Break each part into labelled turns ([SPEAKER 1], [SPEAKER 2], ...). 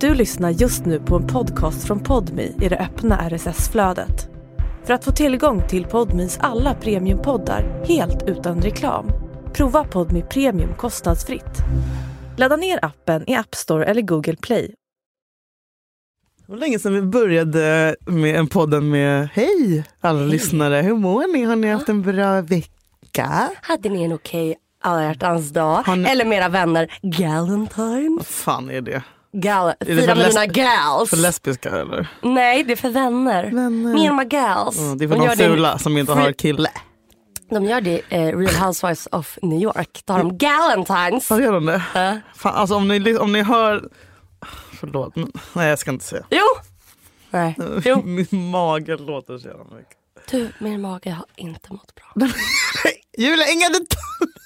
[SPEAKER 1] Du lyssnar just nu på en podcast från Podmi i det öppna RSS-flödet. För att få tillgång till Podmis alla premiumpoddar helt utan reklam, prova Podmi Premium kostnadsfritt. Ladda ner appen i App Store eller Google Play.
[SPEAKER 2] Det var länge sedan vi började med en podden med Hej alla lyssnare, hur mår ni? Har ni haft en bra vecka?
[SPEAKER 3] Hade ni en okej alla hjärtans dag?
[SPEAKER 2] Har ni-
[SPEAKER 3] Eller med era vänner, Galentine?
[SPEAKER 2] Vad fan är det?
[SPEAKER 3] Gal,
[SPEAKER 2] det
[SPEAKER 3] fira
[SPEAKER 2] för
[SPEAKER 3] med
[SPEAKER 2] läs-
[SPEAKER 3] dina gals.
[SPEAKER 2] För lesbiska eller?
[SPEAKER 3] Nej, det är för vänner.
[SPEAKER 2] Vänner.
[SPEAKER 3] Me and my gals.
[SPEAKER 2] Ja, Det är för
[SPEAKER 3] de,
[SPEAKER 2] de
[SPEAKER 3] gör det,
[SPEAKER 2] fula som inte har kille.
[SPEAKER 3] de gör det i eh, Real Housewives of New York. Då har de Galentines. Äh.
[SPEAKER 2] Vad gör de det? Fan, alltså om ni, ly- om ni hör... Förlåt, men... nej jag ska inte säga.
[SPEAKER 3] Jo! Nej. Jo.
[SPEAKER 2] Min mage låter så jävla mycket.
[SPEAKER 3] Du, min mage har inte mått bra.
[SPEAKER 2] Julia, inga detaljer!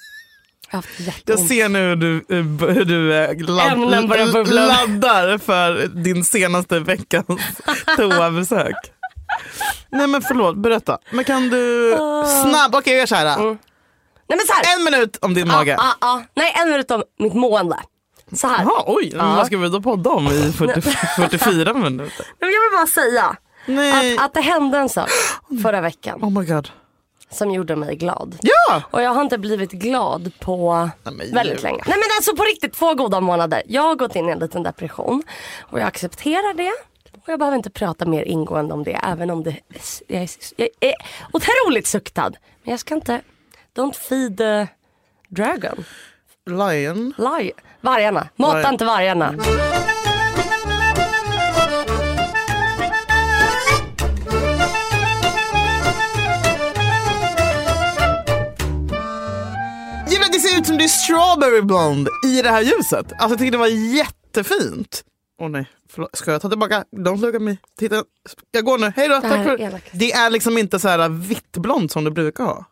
[SPEAKER 3] Jag har haft
[SPEAKER 2] Jag
[SPEAKER 3] jätteont.
[SPEAKER 2] ser nu hur du, eh, hur du eh,
[SPEAKER 3] Ämnen börjar
[SPEAKER 2] ladd,
[SPEAKER 3] bubbla.
[SPEAKER 2] laddar för din senaste veckans toabesök. Nej men förlåt, berätta. Men kan du
[SPEAKER 3] Ah.
[SPEAKER 2] snabbt, okej jag gör så här.
[SPEAKER 3] Nej men så här.
[SPEAKER 2] En minut om din mage.
[SPEAKER 3] Mm. Ah, ah, ah. Nej, en minut om mitt mående. Så här.
[SPEAKER 2] Jaha, oj, men
[SPEAKER 3] Ja.
[SPEAKER 2] vad ska vi då podda om i 40, 44 minuter?
[SPEAKER 3] Nej, men Jag vill bara säga
[SPEAKER 2] Nej.
[SPEAKER 3] att, att det hände en sak förra veckan
[SPEAKER 2] Oh my god.
[SPEAKER 3] som gjorde mig glad.
[SPEAKER 2] Ja!
[SPEAKER 3] Och jag har inte blivit glad på
[SPEAKER 2] Nej, men
[SPEAKER 3] väldigt
[SPEAKER 2] Julia.
[SPEAKER 3] länge. Nej men alltså på riktigt, två goda månader. Jag har gått in i en liten depression och jag accepterar det. Och jag behöver inte prata mer ingående om det även om det, jag, är, jag är otroligt suktad. Men jag ska inte, don't feed the dragon.
[SPEAKER 2] Lion.
[SPEAKER 3] Laj. Vargarna. Mata
[SPEAKER 2] Varg-
[SPEAKER 3] inte vargarna.
[SPEAKER 2] Julia, det ser ut som det är strawberry blonde i det här ljuset. Alltså jag tycker det var jättefint. Åh nej, förlåt. Ska jag ta tillbaka? Don't look at me. Titta. Jag går nu, hej då.
[SPEAKER 3] Det
[SPEAKER 2] Tack
[SPEAKER 3] här är
[SPEAKER 2] för...
[SPEAKER 3] elakt.
[SPEAKER 2] Det är liksom inte så här vitt blont som det brukar ha.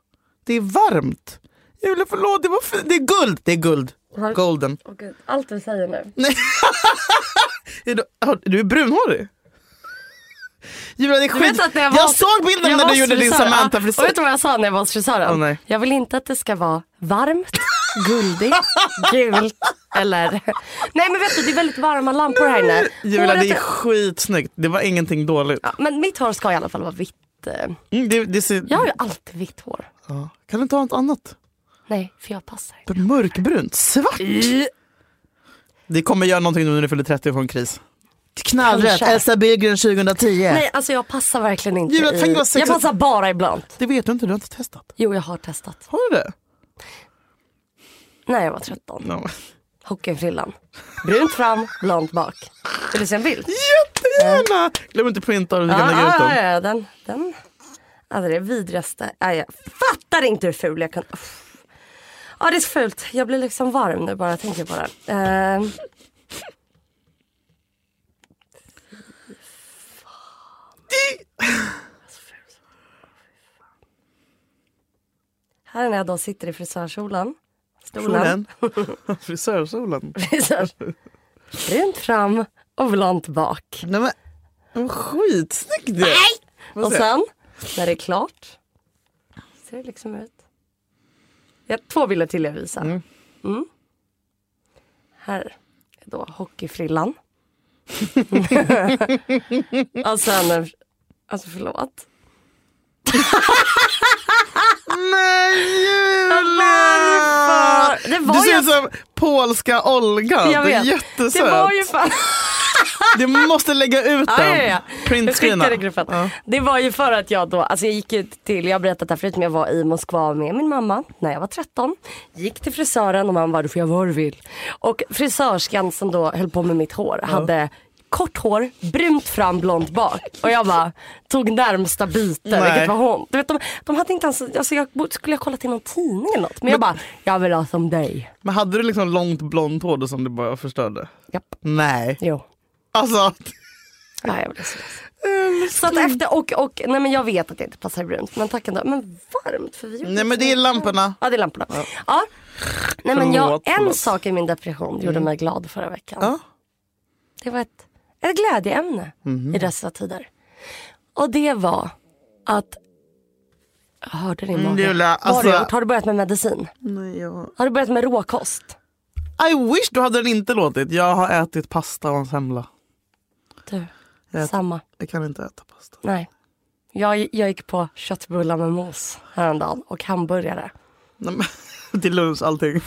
[SPEAKER 2] Det är varmt. Julia, förlåt. Det, var fint. det är guld. Det är guld.
[SPEAKER 3] Har-
[SPEAKER 2] Golden.
[SPEAKER 3] Åh, Gud, Allt du säger nu.
[SPEAKER 2] Är du, har- du är brunhårig. Julia, det är
[SPEAKER 3] Du vet
[SPEAKER 2] skit.
[SPEAKER 3] att när jag,
[SPEAKER 2] jag,
[SPEAKER 3] var,
[SPEAKER 2] såg bilden
[SPEAKER 3] jag
[SPEAKER 2] när
[SPEAKER 3] var
[SPEAKER 2] du gjorde din
[SPEAKER 3] frisör,
[SPEAKER 2] Samantha-frisyr.
[SPEAKER 3] ja. Och vet du vad jag sa när jag var hos frisören?
[SPEAKER 2] Åh, nej.
[SPEAKER 3] Jag vill inte att det ska vara varmt, guldigt, gult eller... Nej men vet du det är väldigt varma lampor här inne.
[SPEAKER 2] Julia,
[SPEAKER 3] Håret
[SPEAKER 2] det är
[SPEAKER 3] är-
[SPEAKER 2] skitsnyggt. Det var ingenting dåligt.
[SPEAKER 3] Ja, Men mitt hår ska i alla fall vara vitt. eh.
[SPEAKER 2] Mm, det, det ser...
[SPEAKER 3] Jag har ju alltid vitt hår.
[SPEAKER 2] Ja. Kan du inte ha något annat?
[SPEAKER 3] Nej för jag passar. inte.
[SPEAKER 2] Mörkbrunt? Svart? Det kommer göra någonting nu när du fyller 30 och får en kris. Knallrätt,
[SPEAKER 3] Kanske.
[SPEAKER 2] Elsa Billgren 2010.
[SPEAKER 3] Nej alltså jag passar verkligen inte
[SPEAKER 2] Julia, tänk
[SPEAKER 3] i...
[SPEAKER 2] vad
[SPEAKER 3] Jag
[SPEAKER 2] sexigt-
[SPEAKER 3] passar bara i blont.
[SPEAKER 2] Det vet du inte, du har inte testat.
[SPEAKER 3] Jo jag har testat.
[SPEAKER 2] Har du det?
[SPEAKER 3] När jag var 13.
[SPEAKER 2] No.
[SPEAKER 3] Hockeyfrillan. Brunt fram, blont bak. Vill du se en bild?
[SPEAKER 2] Jättegärna! Glöm inte printa och vi kan lägga ut
[SPEAKER 3] ja,
[SPEAKER 2] dem.
[SPEAKER 3] ja, ja, den, den. Alltså det vidrigaste. Ja, jag fattar inte hur ful jag kan... Uff. Ja det är så fult. Jag blir liksom varm nu bara jag tänker på det. Eh. Här är när jag då sitter i frisörkjolen. Stolen.
[SPEAKER 2] Solen. Frisörsolen.
[SPEAKER 3] Brunt fram och blont bak.
[SPEAKER 2] Nej men, vad skitsnygg du är.
[SPEAKER 3] Och sen, när det är klart, ser det liksom ut. Jag har två bilder till jag visar. Mm. Här är då hockeyfrillan. och sen, en- alltså förlåt.
[SPEAKER 2] Nej Julia!
[SPEAKER 3] Varför? Det
[SPEAKER 2] Du
[SPEAKER 3] var
[SPEAKER 2] ser
[SPEAKER 3] ju...
[SPEAKER 2] ut som polska Olga.
[SPEAKER 3] Jag
[SPEAKER 2] Du är
[SPEAKER 3] vet.
[SPEAKER 2] jättesöt.
[SPEAKER 3] Det var ju fan...
[SPEAKER 2] Du måste lägga ut
[SPEAKER 3] Ja,
[SPEAKER 2] den.
[SPEAKER 3] ja, ja. Jag
[SPEAKER 2] Printscreena.
[SPEAKER 3] skickade i gruppen.
[SPEAKER 2] Ja.
[SPEAKER 3] Det var ju för att jag då, alltså jag gick ut till, jag har berättat det här förut, men jag var i Moskva med min mamma när jag var 13. Gick till frisören och mamma bara, du får göra vad du vill. Och frisörskan som då höll på med mitt hår hade kort hår, brunt fram, blont bak. Och jag bara tog närmsta biten,
[SPEAKER 2] Nej.
[SPEAKER 3] vilket var hon. Du vet, de, de hade inte ens, alltså jag borde- skulle jag kollat i någon tidning eller något. Men jag bara, jag vill ha som dig.
[SPEAKER 2] Men hade du liksom långt blont hår då som du bara förstörde?
[SPEAKER 3] Japp.
[SPEAKER 2] Nej.
[SPEAKER 3] Jo.
[SPEAKER 2] Alltså,
[SPEAKER 3] Ja, jag blev så ledsen. Så att efter, och, och, nej men jag vet att det inte passar i brunt men tack ändå. Men varmt för vi gjorde
[SPEAKER 2] nej men det är lamporna.
[SPEAKER 3] Ja det är lamporna. Ja. Nej men jag,
[SPEAKER 2] Förlåt,
[SPEAKER 3] en
[SPEAKER 2] förlåt. Mm.
[SPEAKER 3] sak i min depression gjorde mig glad förra veckan.
[SPEAKER 2] Ja.
[SPEAKER 3] Det var ett, ett glädjeämne
[SPEAKER 2] Mhm.
[SPEAKER 3] i dessa tider. Och det var att, jag hörde din mage.
[SPEAKER 2] Julia,
[SPEAKER 3] Vad har du
[SPEAKER 2] alltså-
[SPEAKER 3] gjort? Har du börjat med medicin?
[SPEAKER 2] Nej, jag...
[SPEAKER 3] Har du börjat med råkost?
[SPEAKER 2] I wish du hade den inte låtit. Jag har ätit pasta och en semla.
[SPEAKER 3] Du,
[SPEAKER 2] Jag-
[SPEAKER 3] samma.
[SPEAKER 2] Jag kan inte äta pasta.
[SPEAKER 3] Nej. Jag, jag gick på köttbullar med mos häromdagen och hamburgare.
[SPEAKER 2] Nej, men, till lunch allting.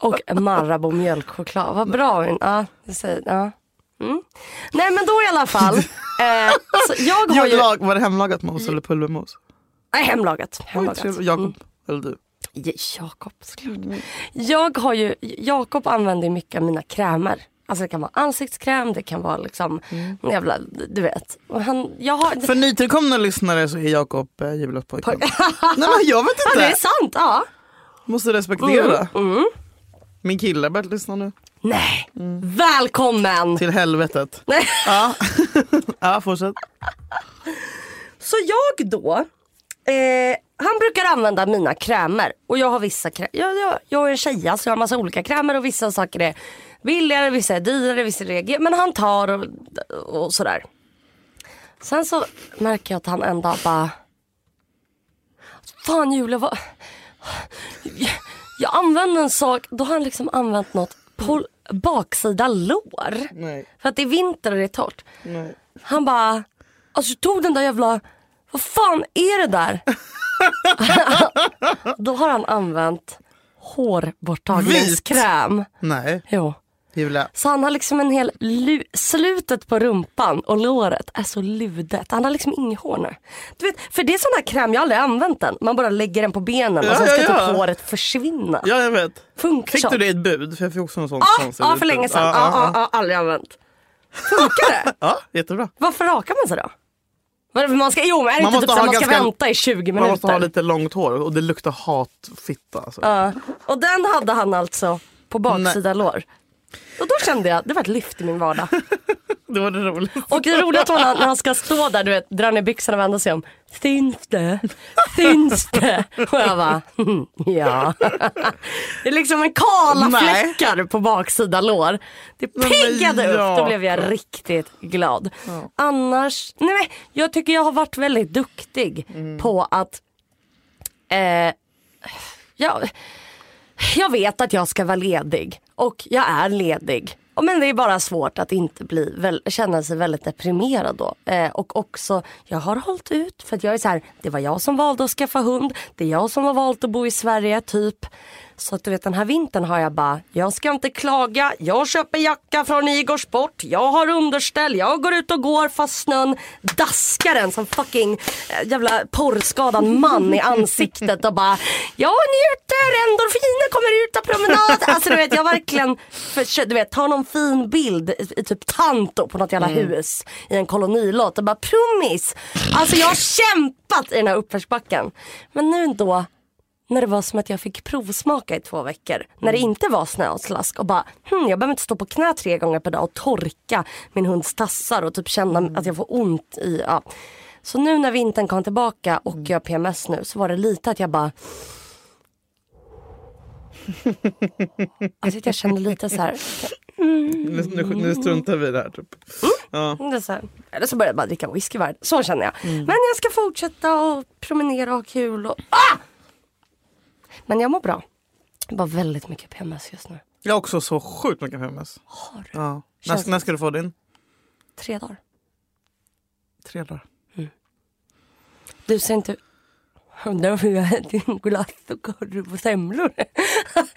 [SPEAKER 3] Och Marabou mjölkchoklad. Vad bra. Min. Ja, det säger, ja. Mm. Nej men då i alla fall. Eh, så jag har
[SPEAKER 2] Jag
[SPEAKER 3] ju...
[SPEAKER 2] lag, var det hemlagat mos eller pulvermos?
[SPEAKER 3] Nej, hemlagat.
[SPEAKER 2] Oj,
[SPEAKER 3] hemlagat.
[SPEAKER 2] trevligt. Jakob, Mm. eller du.
[SPEAKER 3] Ja, Jakob såklart.
[SPEAKER 2] Mm,
[SPEAKER 3] Jag har ju, Jakob använder ju mycket av mina krämer. Alltså det kan vara ansiktskräm, det kan vara liksom,
[SPEAKER 2] Mm.
[SPEAKER 3] någon jävla, du vet. Och han, jag har,
[SPEAKER 2] För nytillkomna lyssnare så är Jakob eh, Julas pojkvän. Nej men jag vet
[SPEAKER 3] ja, det är
[SPEAKER 2] inte.
[SPEAKER 3] sant, ja.
[SPEAKER 2] Måste respektera. Min kille har börjat lyssna nu.
[SPEAKER 3] Nej, välkommen!
[SPEAKER 2] Mm. Till helvetet.
[SPEAKER 3] Nej.
[SPEAKER 2] Ja, ja fortsätt.
[SPEAKER 3] Så jag då, eh, han brukar använda mina krämer och jag har vissa krämer. Jag, jag, jag är en tjeja så jag har massa olika krämer och vissa saker är billigare, vissa är dyrare, vissa reagerar. Men han tar och, och sådär. Sen så märker jag att han en dag bara, fan Julia vad, jag, jag använde en sak, då har han liksom använt något på baksida lår.
[SPEAKER 2] Nej,
[SPEAKER 3] För att det är vinter och det är torrt.
[SPEAKER 2] nej.
[SPEAKER 3] Han bara, alltså du tog den där jävla, vad fan är det där? Då har han använt hårborttagningskräm.
[SPEAKER 2] Nej,
[SPEAKER 3] Jo.
[SPEAKER 2] Julia.
[SPEAKER 3] Så han har liksom en hel, lu- slutet på rumpan och låret är så ludet. Han har liksom inget hår nu. Du vet, för det är sån där kräm, jag har aldrig använt den. Man bara lägger den på benen
[SPEAKER 2] Ja,
[SPEAKER 3] och sen ska
[SPEAKER 2] ja, ja.
[SPEAKER 3] typ håret försvinna.
[SPEAKER 2] Ja jag vet.
[SPEAKER 3] Funkar
[SPEAKER 2] Fick
[SPEAKER 3] så?
[SPEAKER 2] du det i ett bud? För jag fick också en sån
[SPEAKER 3] Ja,
[SPEAKER 2] konstig
[SPEAKER 3] ah, för
[SPEAKER 2] liten-
[SPEAKER 3] länge sedan.
[SPEAKER 2] Ja,
[SPEAKER 3] Ja,
[SPEAKER 2] ja,
[SPEAKER 3] ah, ah, aldrig använt. Funkar det?
[SPEAKER 2] ja. ja jättebra.
[SPEAKER 3] Varför rakar man sig då? Varför man ska, jo men är det
[SPEAKER 2] Man måste
[SPEAKER 3] inte typ så
[SPEAKER 2] ha
[SPEAKER 3] att man ska
[SPEAKER 2] ganska-
[SPEAKER 3] vänta i 20
[SPEAKER 2] Man måste ha
[SPEAKER 3] minuter?
[SPEAKER 2] lite långt hår och det luktar hatfitta. Alltså.
[SPEAKER 3] Ja. och den hade han alltså på baksida lår. Och då kände jag, det var ett lyft i min vardag.
[SPEAKER 2] Det var det roligt.
[SPEAKER 3] Och det roliga var när han- när han ska stå där, du vet, dra ner byxorna och vända sig om. Syns det? Syns det? Och jag bara, "Mm, ja. Det är liksom en kala
[SPEAKER 2] Nej.
[SPEAKER 3] fläckar på baksida lår. Det
[SPEAKER 2] men
[SPEAKER 3] piggade upp, då
[SPEAKER 2] Jakob.
[SPEAKER 3] blev jag riktigt glad. Annars, nej men jag tycker jag har varit väldigt duktig
[SPEAKER 2] Mm.
[SPEAKER 3] på att eh, jag, jag vet att jag ska vara ledig och jag är ledig. Och Men det är bara svårt att inte bli, väl, känna sig väldigt deprimerad då. Eh, och också, jag har hållit ut för att jag är så här, det var jag som valde att skaffa hund, det är jag som har valt att bo i Sverige typ. Så att du vet den här vintern har jag bara, jag ska inte klaga, jag köper jacka från Igor Sport, jag har underställ, jag går ut och går fast snön daskar en som fucking eh, jävla porrskadad man i ansiktet och bara, jag njuter, endorfiner kommer ut av promenad. Alltså du vet jag verkligen, för, du vet ta någon fin bild i, i typ Tanto på något jävla hus i en kolonilott och bara promis. Alltså jag har kämpat i den här uppförsbacken. Men nu då när det var som att jag fick provsmaka i två veckor. När det inte var snö och slask och bara, hm, jag behöver inte stå på knä tre gånger per dag och torka min hunds tassar och typ känna att jag får ont i, ja. Så nu när vintern kom tillbaka och jag har PMS nu så var det lite att jag bara Alltså att jag kände lite så här,
[SPEAKER 2] Nu, nu, nu struntar vi i det här typ. Ja.
[SPEAKER 3] det är så här. Eller så började jag bara dricka whisky varje dag. Så känner jag. Men jag ska fortsätta och promenera och ha kul och, ah! Men jag mår bra. Jag har bara väldigt mycket PMS just nu.
[SPEAKER 2] Jag har också så sjukt mycket PMS.
[SPEAKER 3] Har du?
[SPEAKER 2] Ja. När,
[SPEAKER 3] Känns-
[SPEAKER 2] ska- när ska du få din?
[SPEAKER 3] Tre dagar.
[SPEAKER 2] Tre dagar.
[SPEAKER 3] Du ser inte... Undrar om jag äter glass och korv och semlor.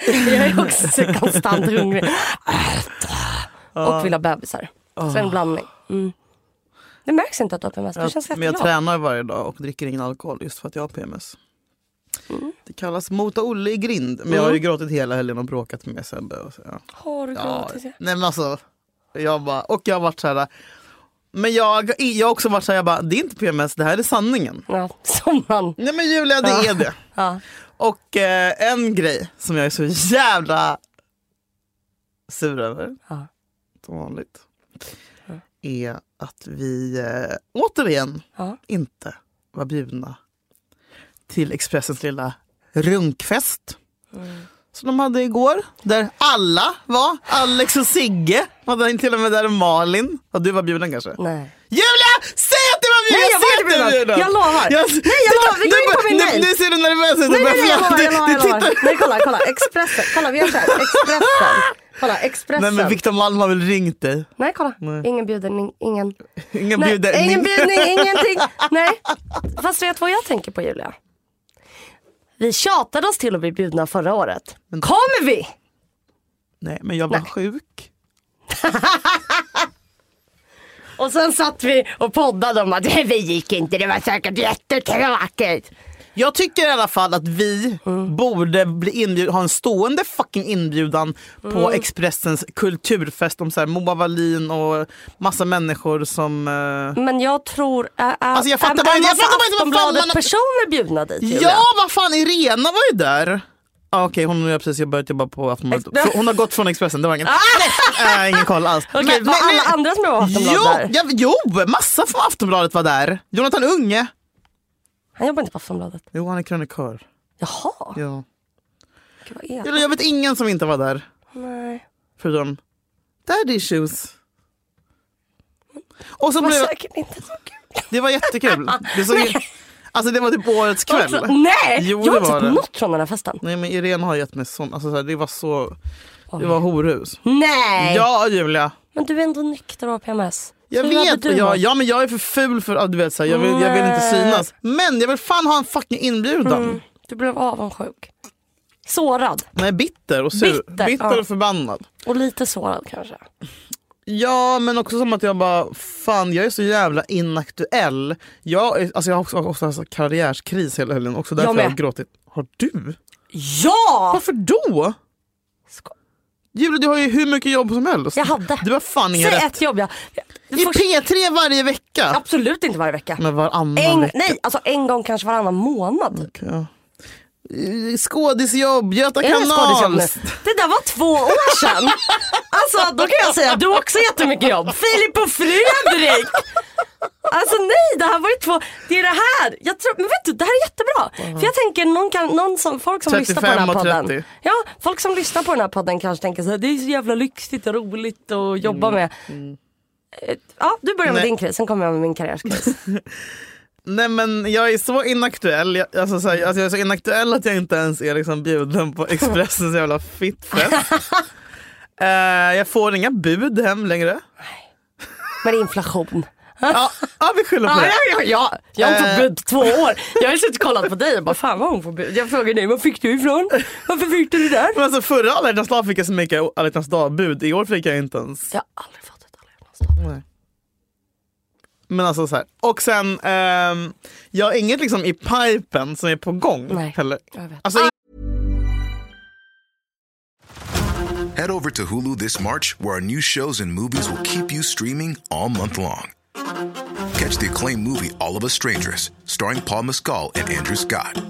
[SPEAKER 3] jag är också så konstant hungrig. Och vill ha bebisar. Så en blandning. Mm. Det märks inte att du har PMS. Du
[SPEAKER 2] Jag,
[SPEAKER 3] känns
[SPEAKER 2] men jag
[SPEAKER 3] jätteglad.
[SPEAKER 2] tränar varje dag och dricker ingen alkohol just för att jag har PMS.
[SPEAKER 3] Mm.
[SPEAKER 2] Det kallas mota Olle i grind. Men jag har ju gråtit hela helgen och bråkat med Sebbe. Och så, ja.
[SPEAKER 3] Har du
[SPEAKER 2] Ja,
[SPEAKER 3] gråtit?
[SPEAKER 2] nej men alltså, jag bara, och jag har varit så här. Men jag, jag har också varit så här, jag bara, det är inte PMS, det här är sanningen.
[SPEAKER 3] Ja, som man.
[SPEAKER 2] Nej men Julia, det är det.
[SPEAKER 3] Ja.
[SPEAKER 2] Och eh, en grej som jag är så jävla sur över,
[SPEAKER 3] Ja.
[SPEAKER 2] som vanligt, är att vi eh, återigen
[SPEAKER 3] Ja.
[SPEAKER 2] inte var bjudna till Expressens lilla runkfest.
[SPEAKER 3] Mm.
[SPEAKER 2] Som de hade igår, där alla var. Alex och Sigge var där, till och med där Malin. Ja, du var bjuden kanske?
[SPEAKER 3] Nej.
[SPEAKER 2] Julia! Säg att du var bjuden!
[SPEAKER 3] Nej, jag
[SPEAKER 2] Säg
[SPEAKER 3] var inte
[SPEAKER 2] att du
[SPEAKER 3] bjuden. Jag lovar. Nej, jag
[SPEAKER 2] Du
[SPEAKER 3] lovar.
[SPEAKER 2] bara-
[SPEAKER 3] Vi går in
[SPEAKER 2] du
[SPEAKER 3] på
[SPEAKER 2] bara-
[SPEAKER 3] min
[SPEAKER 2] nu-
[SPEAKER 3] mail.
[SPEAKER 2] Nu ser du nervös ut. Du
[SPEAKER 3] Nej, nej,
[SPEAKER 2] bara
[SPEAKER 3] nej, jag
[SPEAKER 2] fladdrar. Du
[SPEAKER 3] lovar, jag lovar, jag
[SPEAKER 2] tittar-
[SPEAKER 3] lovar. Nej, kolla, kolla. Expressen. Kolla, vi gör så här. Expressen Kolla, Expressen.
[SPEAKER 2] Nej men Victor Malm har väl ringt dig?
[SPEAKER 3] Nej, kolla.
[SPEAKER 2] Nej.
[SPEAKER 3] Ingen bjuden, ingen.
[SPEAKER 2] Ingen
[SPEAKER 3] Nej,
[SPEAKER 2] bjuder.
[SPEAKER 3] ingen bjudning, ingenting. Nej. Fast vet du vad jag tänker på Julia? Vi tjatade oss till att bli bjudna förra året. Kommer vi?
[SPEAKER 2] Nej men jag var sjuk.
[SPEAKER 3] Och sen satt vi och poddade om att vi gick inte, det var säkert jättetråkigt.
[SPEAKER 2] Jag tycker i alla fall att vi
[SPEAKER 3] Mm.
[SPEAKER 2] borde bli inbjud- ha en stående fucking inbjudan på
[SPEAKER 3] Mm.
[SPEAKER 2] Expressens kulturfest om så här Moa Wallin och massa människor som... eh,
[SPEAKER 3] Men jag tror... Äh, äh,
[SPEAKER 2] Alltså, jag fattar
[SPEAKER 3] äh,
[SPEAKER 2] bara inte- jag
[SPEAKER 3] alltså,
[SPEAKER 2] fattar bara inte vad fan man-
[SPEAKER 3] Aftonbladet-personer bjudna dit Julia.
[SPEAKER 2] Ja vad fan, Irena var ju där! Ah, Okej hon har precis börjat jobba på Aftonbladet.
[SPEAKER 3] Ex- Ah!
[SPEAKER 2] Hon har gått från Expressen, det var ingen, äh, ingen koll alls.
[SPEAKER 3] Okej,
[SPEAKER 2] Men-
[SPEAKER 3] var
[SPEAKER 2] men-
[SPEAKER 3] alla
[SPEAKER 2] men-
[SPEAKER 3] andra som var på Aftonbladet
[SPEAKER 2] Jo,
[SPEAKER 3] där?
[SPEAKER 2] ja, jo, massa från Aftonbladet var där. Jonathan Unge.
[SPEAKER 3] Han jobbar inte på Aftonbladet.
[SPEAKER 2] Jo, han är krönikör.
[SPEAKER 3] Jaha,
[SPEAKER 2] Ja.
[SPEAKER 3] gud vad elakt.
[SPEAKER 2] Eller Jag vet ingen som inte var där,
[SPEAKER 3] Nej.
[SPEAKER 2] förutom Daddy Issues. Och så
[SPEAKER 3] Det var
[SPEAKER 2] blev,
[SPEAKER 3] säkert inte så kul.
[SPEAKER 2] det var jättekul. Det, såg, alltså det var typ årets
[SPEAKER 3] Också-
[SPEAKER 2] kväll.
[SPEAKER 3] Nej!
[SPEAKER 2] Jo,
[SPEAKER 3] jag har
[SPEAKER 2] det
[SPEAKER 3] inte
[SPEAKER 2] var
[SPEAKER 3] sett
[SPEAKER 2] det.
[SPEAKER 3] något från den här festen.
[SPEAKER 2] Nej men Irene har gett mig sån, alltså så här, det var så, det var horhus.
[SPEAKER 3] Nej!
[SPEAKER 2] Ja Julia,
[SPEAKER 3] Men du är ändå nykter och har PMS.
[SPEAKER 2] jag
[SPEAKER 3] Hur hade
[SPEAKER 2] vet.
[SPEAKER 3] du
[SPEAKER 2] Jag,
[SPEAKER 3] mått?
[SPEAKER 2] ja men jag är för ful för, ja, du vet så här, jag, vill, jag vill inte
[SPEAKER 3] Nej.
[SPEAKER 2] synas. Men jag vill fan ha en fucking inbjudan.
[SPEAKER 3] Mm, Du blev avundsjuk. Sårad.
[SPEAKER 2] Nej bitter och sur.
[SPEAKER 3] Bitter,
[SPEAKER 2] Bitter,
[SPEAKER 3] ja.
[SPEAKER 2] och förbannad.
[SPEAKER 3] Och lite sårad kanske.
[SPEAKER 2] Ja men också som att jag bara, fan jag är så jävla inaktuell. Jag, är, alltså jag har också, också haft karriärskris hela helgen, också därför
[SPEAKER 3] Jag
[SPEAKER 2] jag,
[SPEAKER 3] med.
[SPEAKER 2] har gråtit. Har du?
[SPEAKER 3] Ja!
[SPEAKER 2] Varför då?
[SPEAKER 3] Sko-
[SPEAKER 2] Julia du har ju hur mycket jobb som helst.
[SPEAKER 3] Jag hade.
[SPEAKER 2] Du har fan inga
[SPEAKER 3] Säg
[SPEAKER 2] rätt.
[SPEAKER 3] ett jobb ja. Det
[SPEAKER 2] I
[SPEAKER 3] första-
[SPEAKER 2] P3 varje vecka?
[SPEAKER 3] Absolut inte varje vecka.
[SPEAKER 2] Men varannan
[SPEAKER 3] En,
[SPEAKER 2] vecka?
[SPEAKER 3] nej, alltså en gång kanske varannan månad. typ.
[SPEAKER 2] Ja. Eh, Skådisjobb, Göta
[SPEAKER 3] Är det skådisjobb
[SPEAKER 2] kanal.
[SPEAKER 3] nu? Det där var två år sedan. Alltså då kan jag säga att du har också jättemycket jobb. Filip och Fredrik. Alltså nej, det här var ju två, det är det här. Jag tror, men vet du, det här är jättebra. För jag tänker någon, kan, någon som, folk som lyssnar på den här
[SPEAKER 2] 35 och
[SPEAKER 3] podden.
[SPEAKER 2] 30.
[SPEAKER 3] Ja, folk som lyssnar på den här podden kanske tänker så här, det är så jävla lyxigt och roligt att jobba med. Eh, Ja, du börjar med
[SPEAKER 2] Nej.
[SPEAKER 3] din kris, sen kommer jag med min karriärskris.
[SPEAKER 2] Nej men jag är så inaktuell, jag, alltså, så här, alltså, jag är så inaktuell att jag inte ens är liksom, bjuden på Expressens jävla fittfest. Eh, jag får inga bud hem längre.
[SPEAKER 3] Men inflation.
[SPEAKER 2] Ja, ja vi skyller på
[SPEAKER 3] Ja,
[SPEAKER 2] det.
[SPEAKER 3] ja, ja, ja. Jag har inte
[SPEAKER 2] Eh.
[SPEAKER 3] fått bud på två år. Jag har suttit och kollat på dig och bara fan vad hon får bud. Jag frågar dig, var fick du ifrån? Varför fick du det där?
[SPEAKER 2] Men alltså, förra alla hjärtans dag fick jag så mycket alla hjärtans dag-bud, i år fick jag inte ens.
[SPEAKER 3] Jag har aldrig fått ett alla hjärtans dag.
[SPEAKER 2] Men alltså så här. Och sen, ehm, jag har inget liksom i pipen som är på gång
[SPEAKER 3] Nej.
[SPEAKER 2] heller.
[SPEAKER 3] Jag vet.
[SPEAKER 2] Alltså,
[SPEAKER 4] Head over to Hulu this March, where our new shows and movies will keep you streaming all month long. Catch the acclaimed movie All of Us Strangers, starring Paul Mescal and Andrew Scott.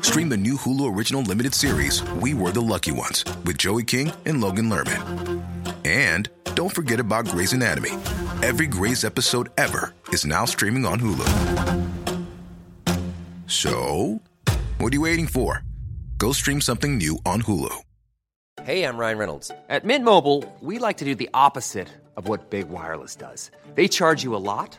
[SPEAKER 4] Stream the new Hulu original limited series We Were the Lucky Ones with Joey King and Logan Lerman. And don't forget about Grey's Anatomy. Every Grey's episode ever is now streaming on Hulu. So, what are you waiting for? Go stream something new on Hulu.
[SPEAKER 5] Hey, I'm Ryan Reynolds. At Mint Mobile, we like to do the opposite of what Big Wireless does. They charge you a lot,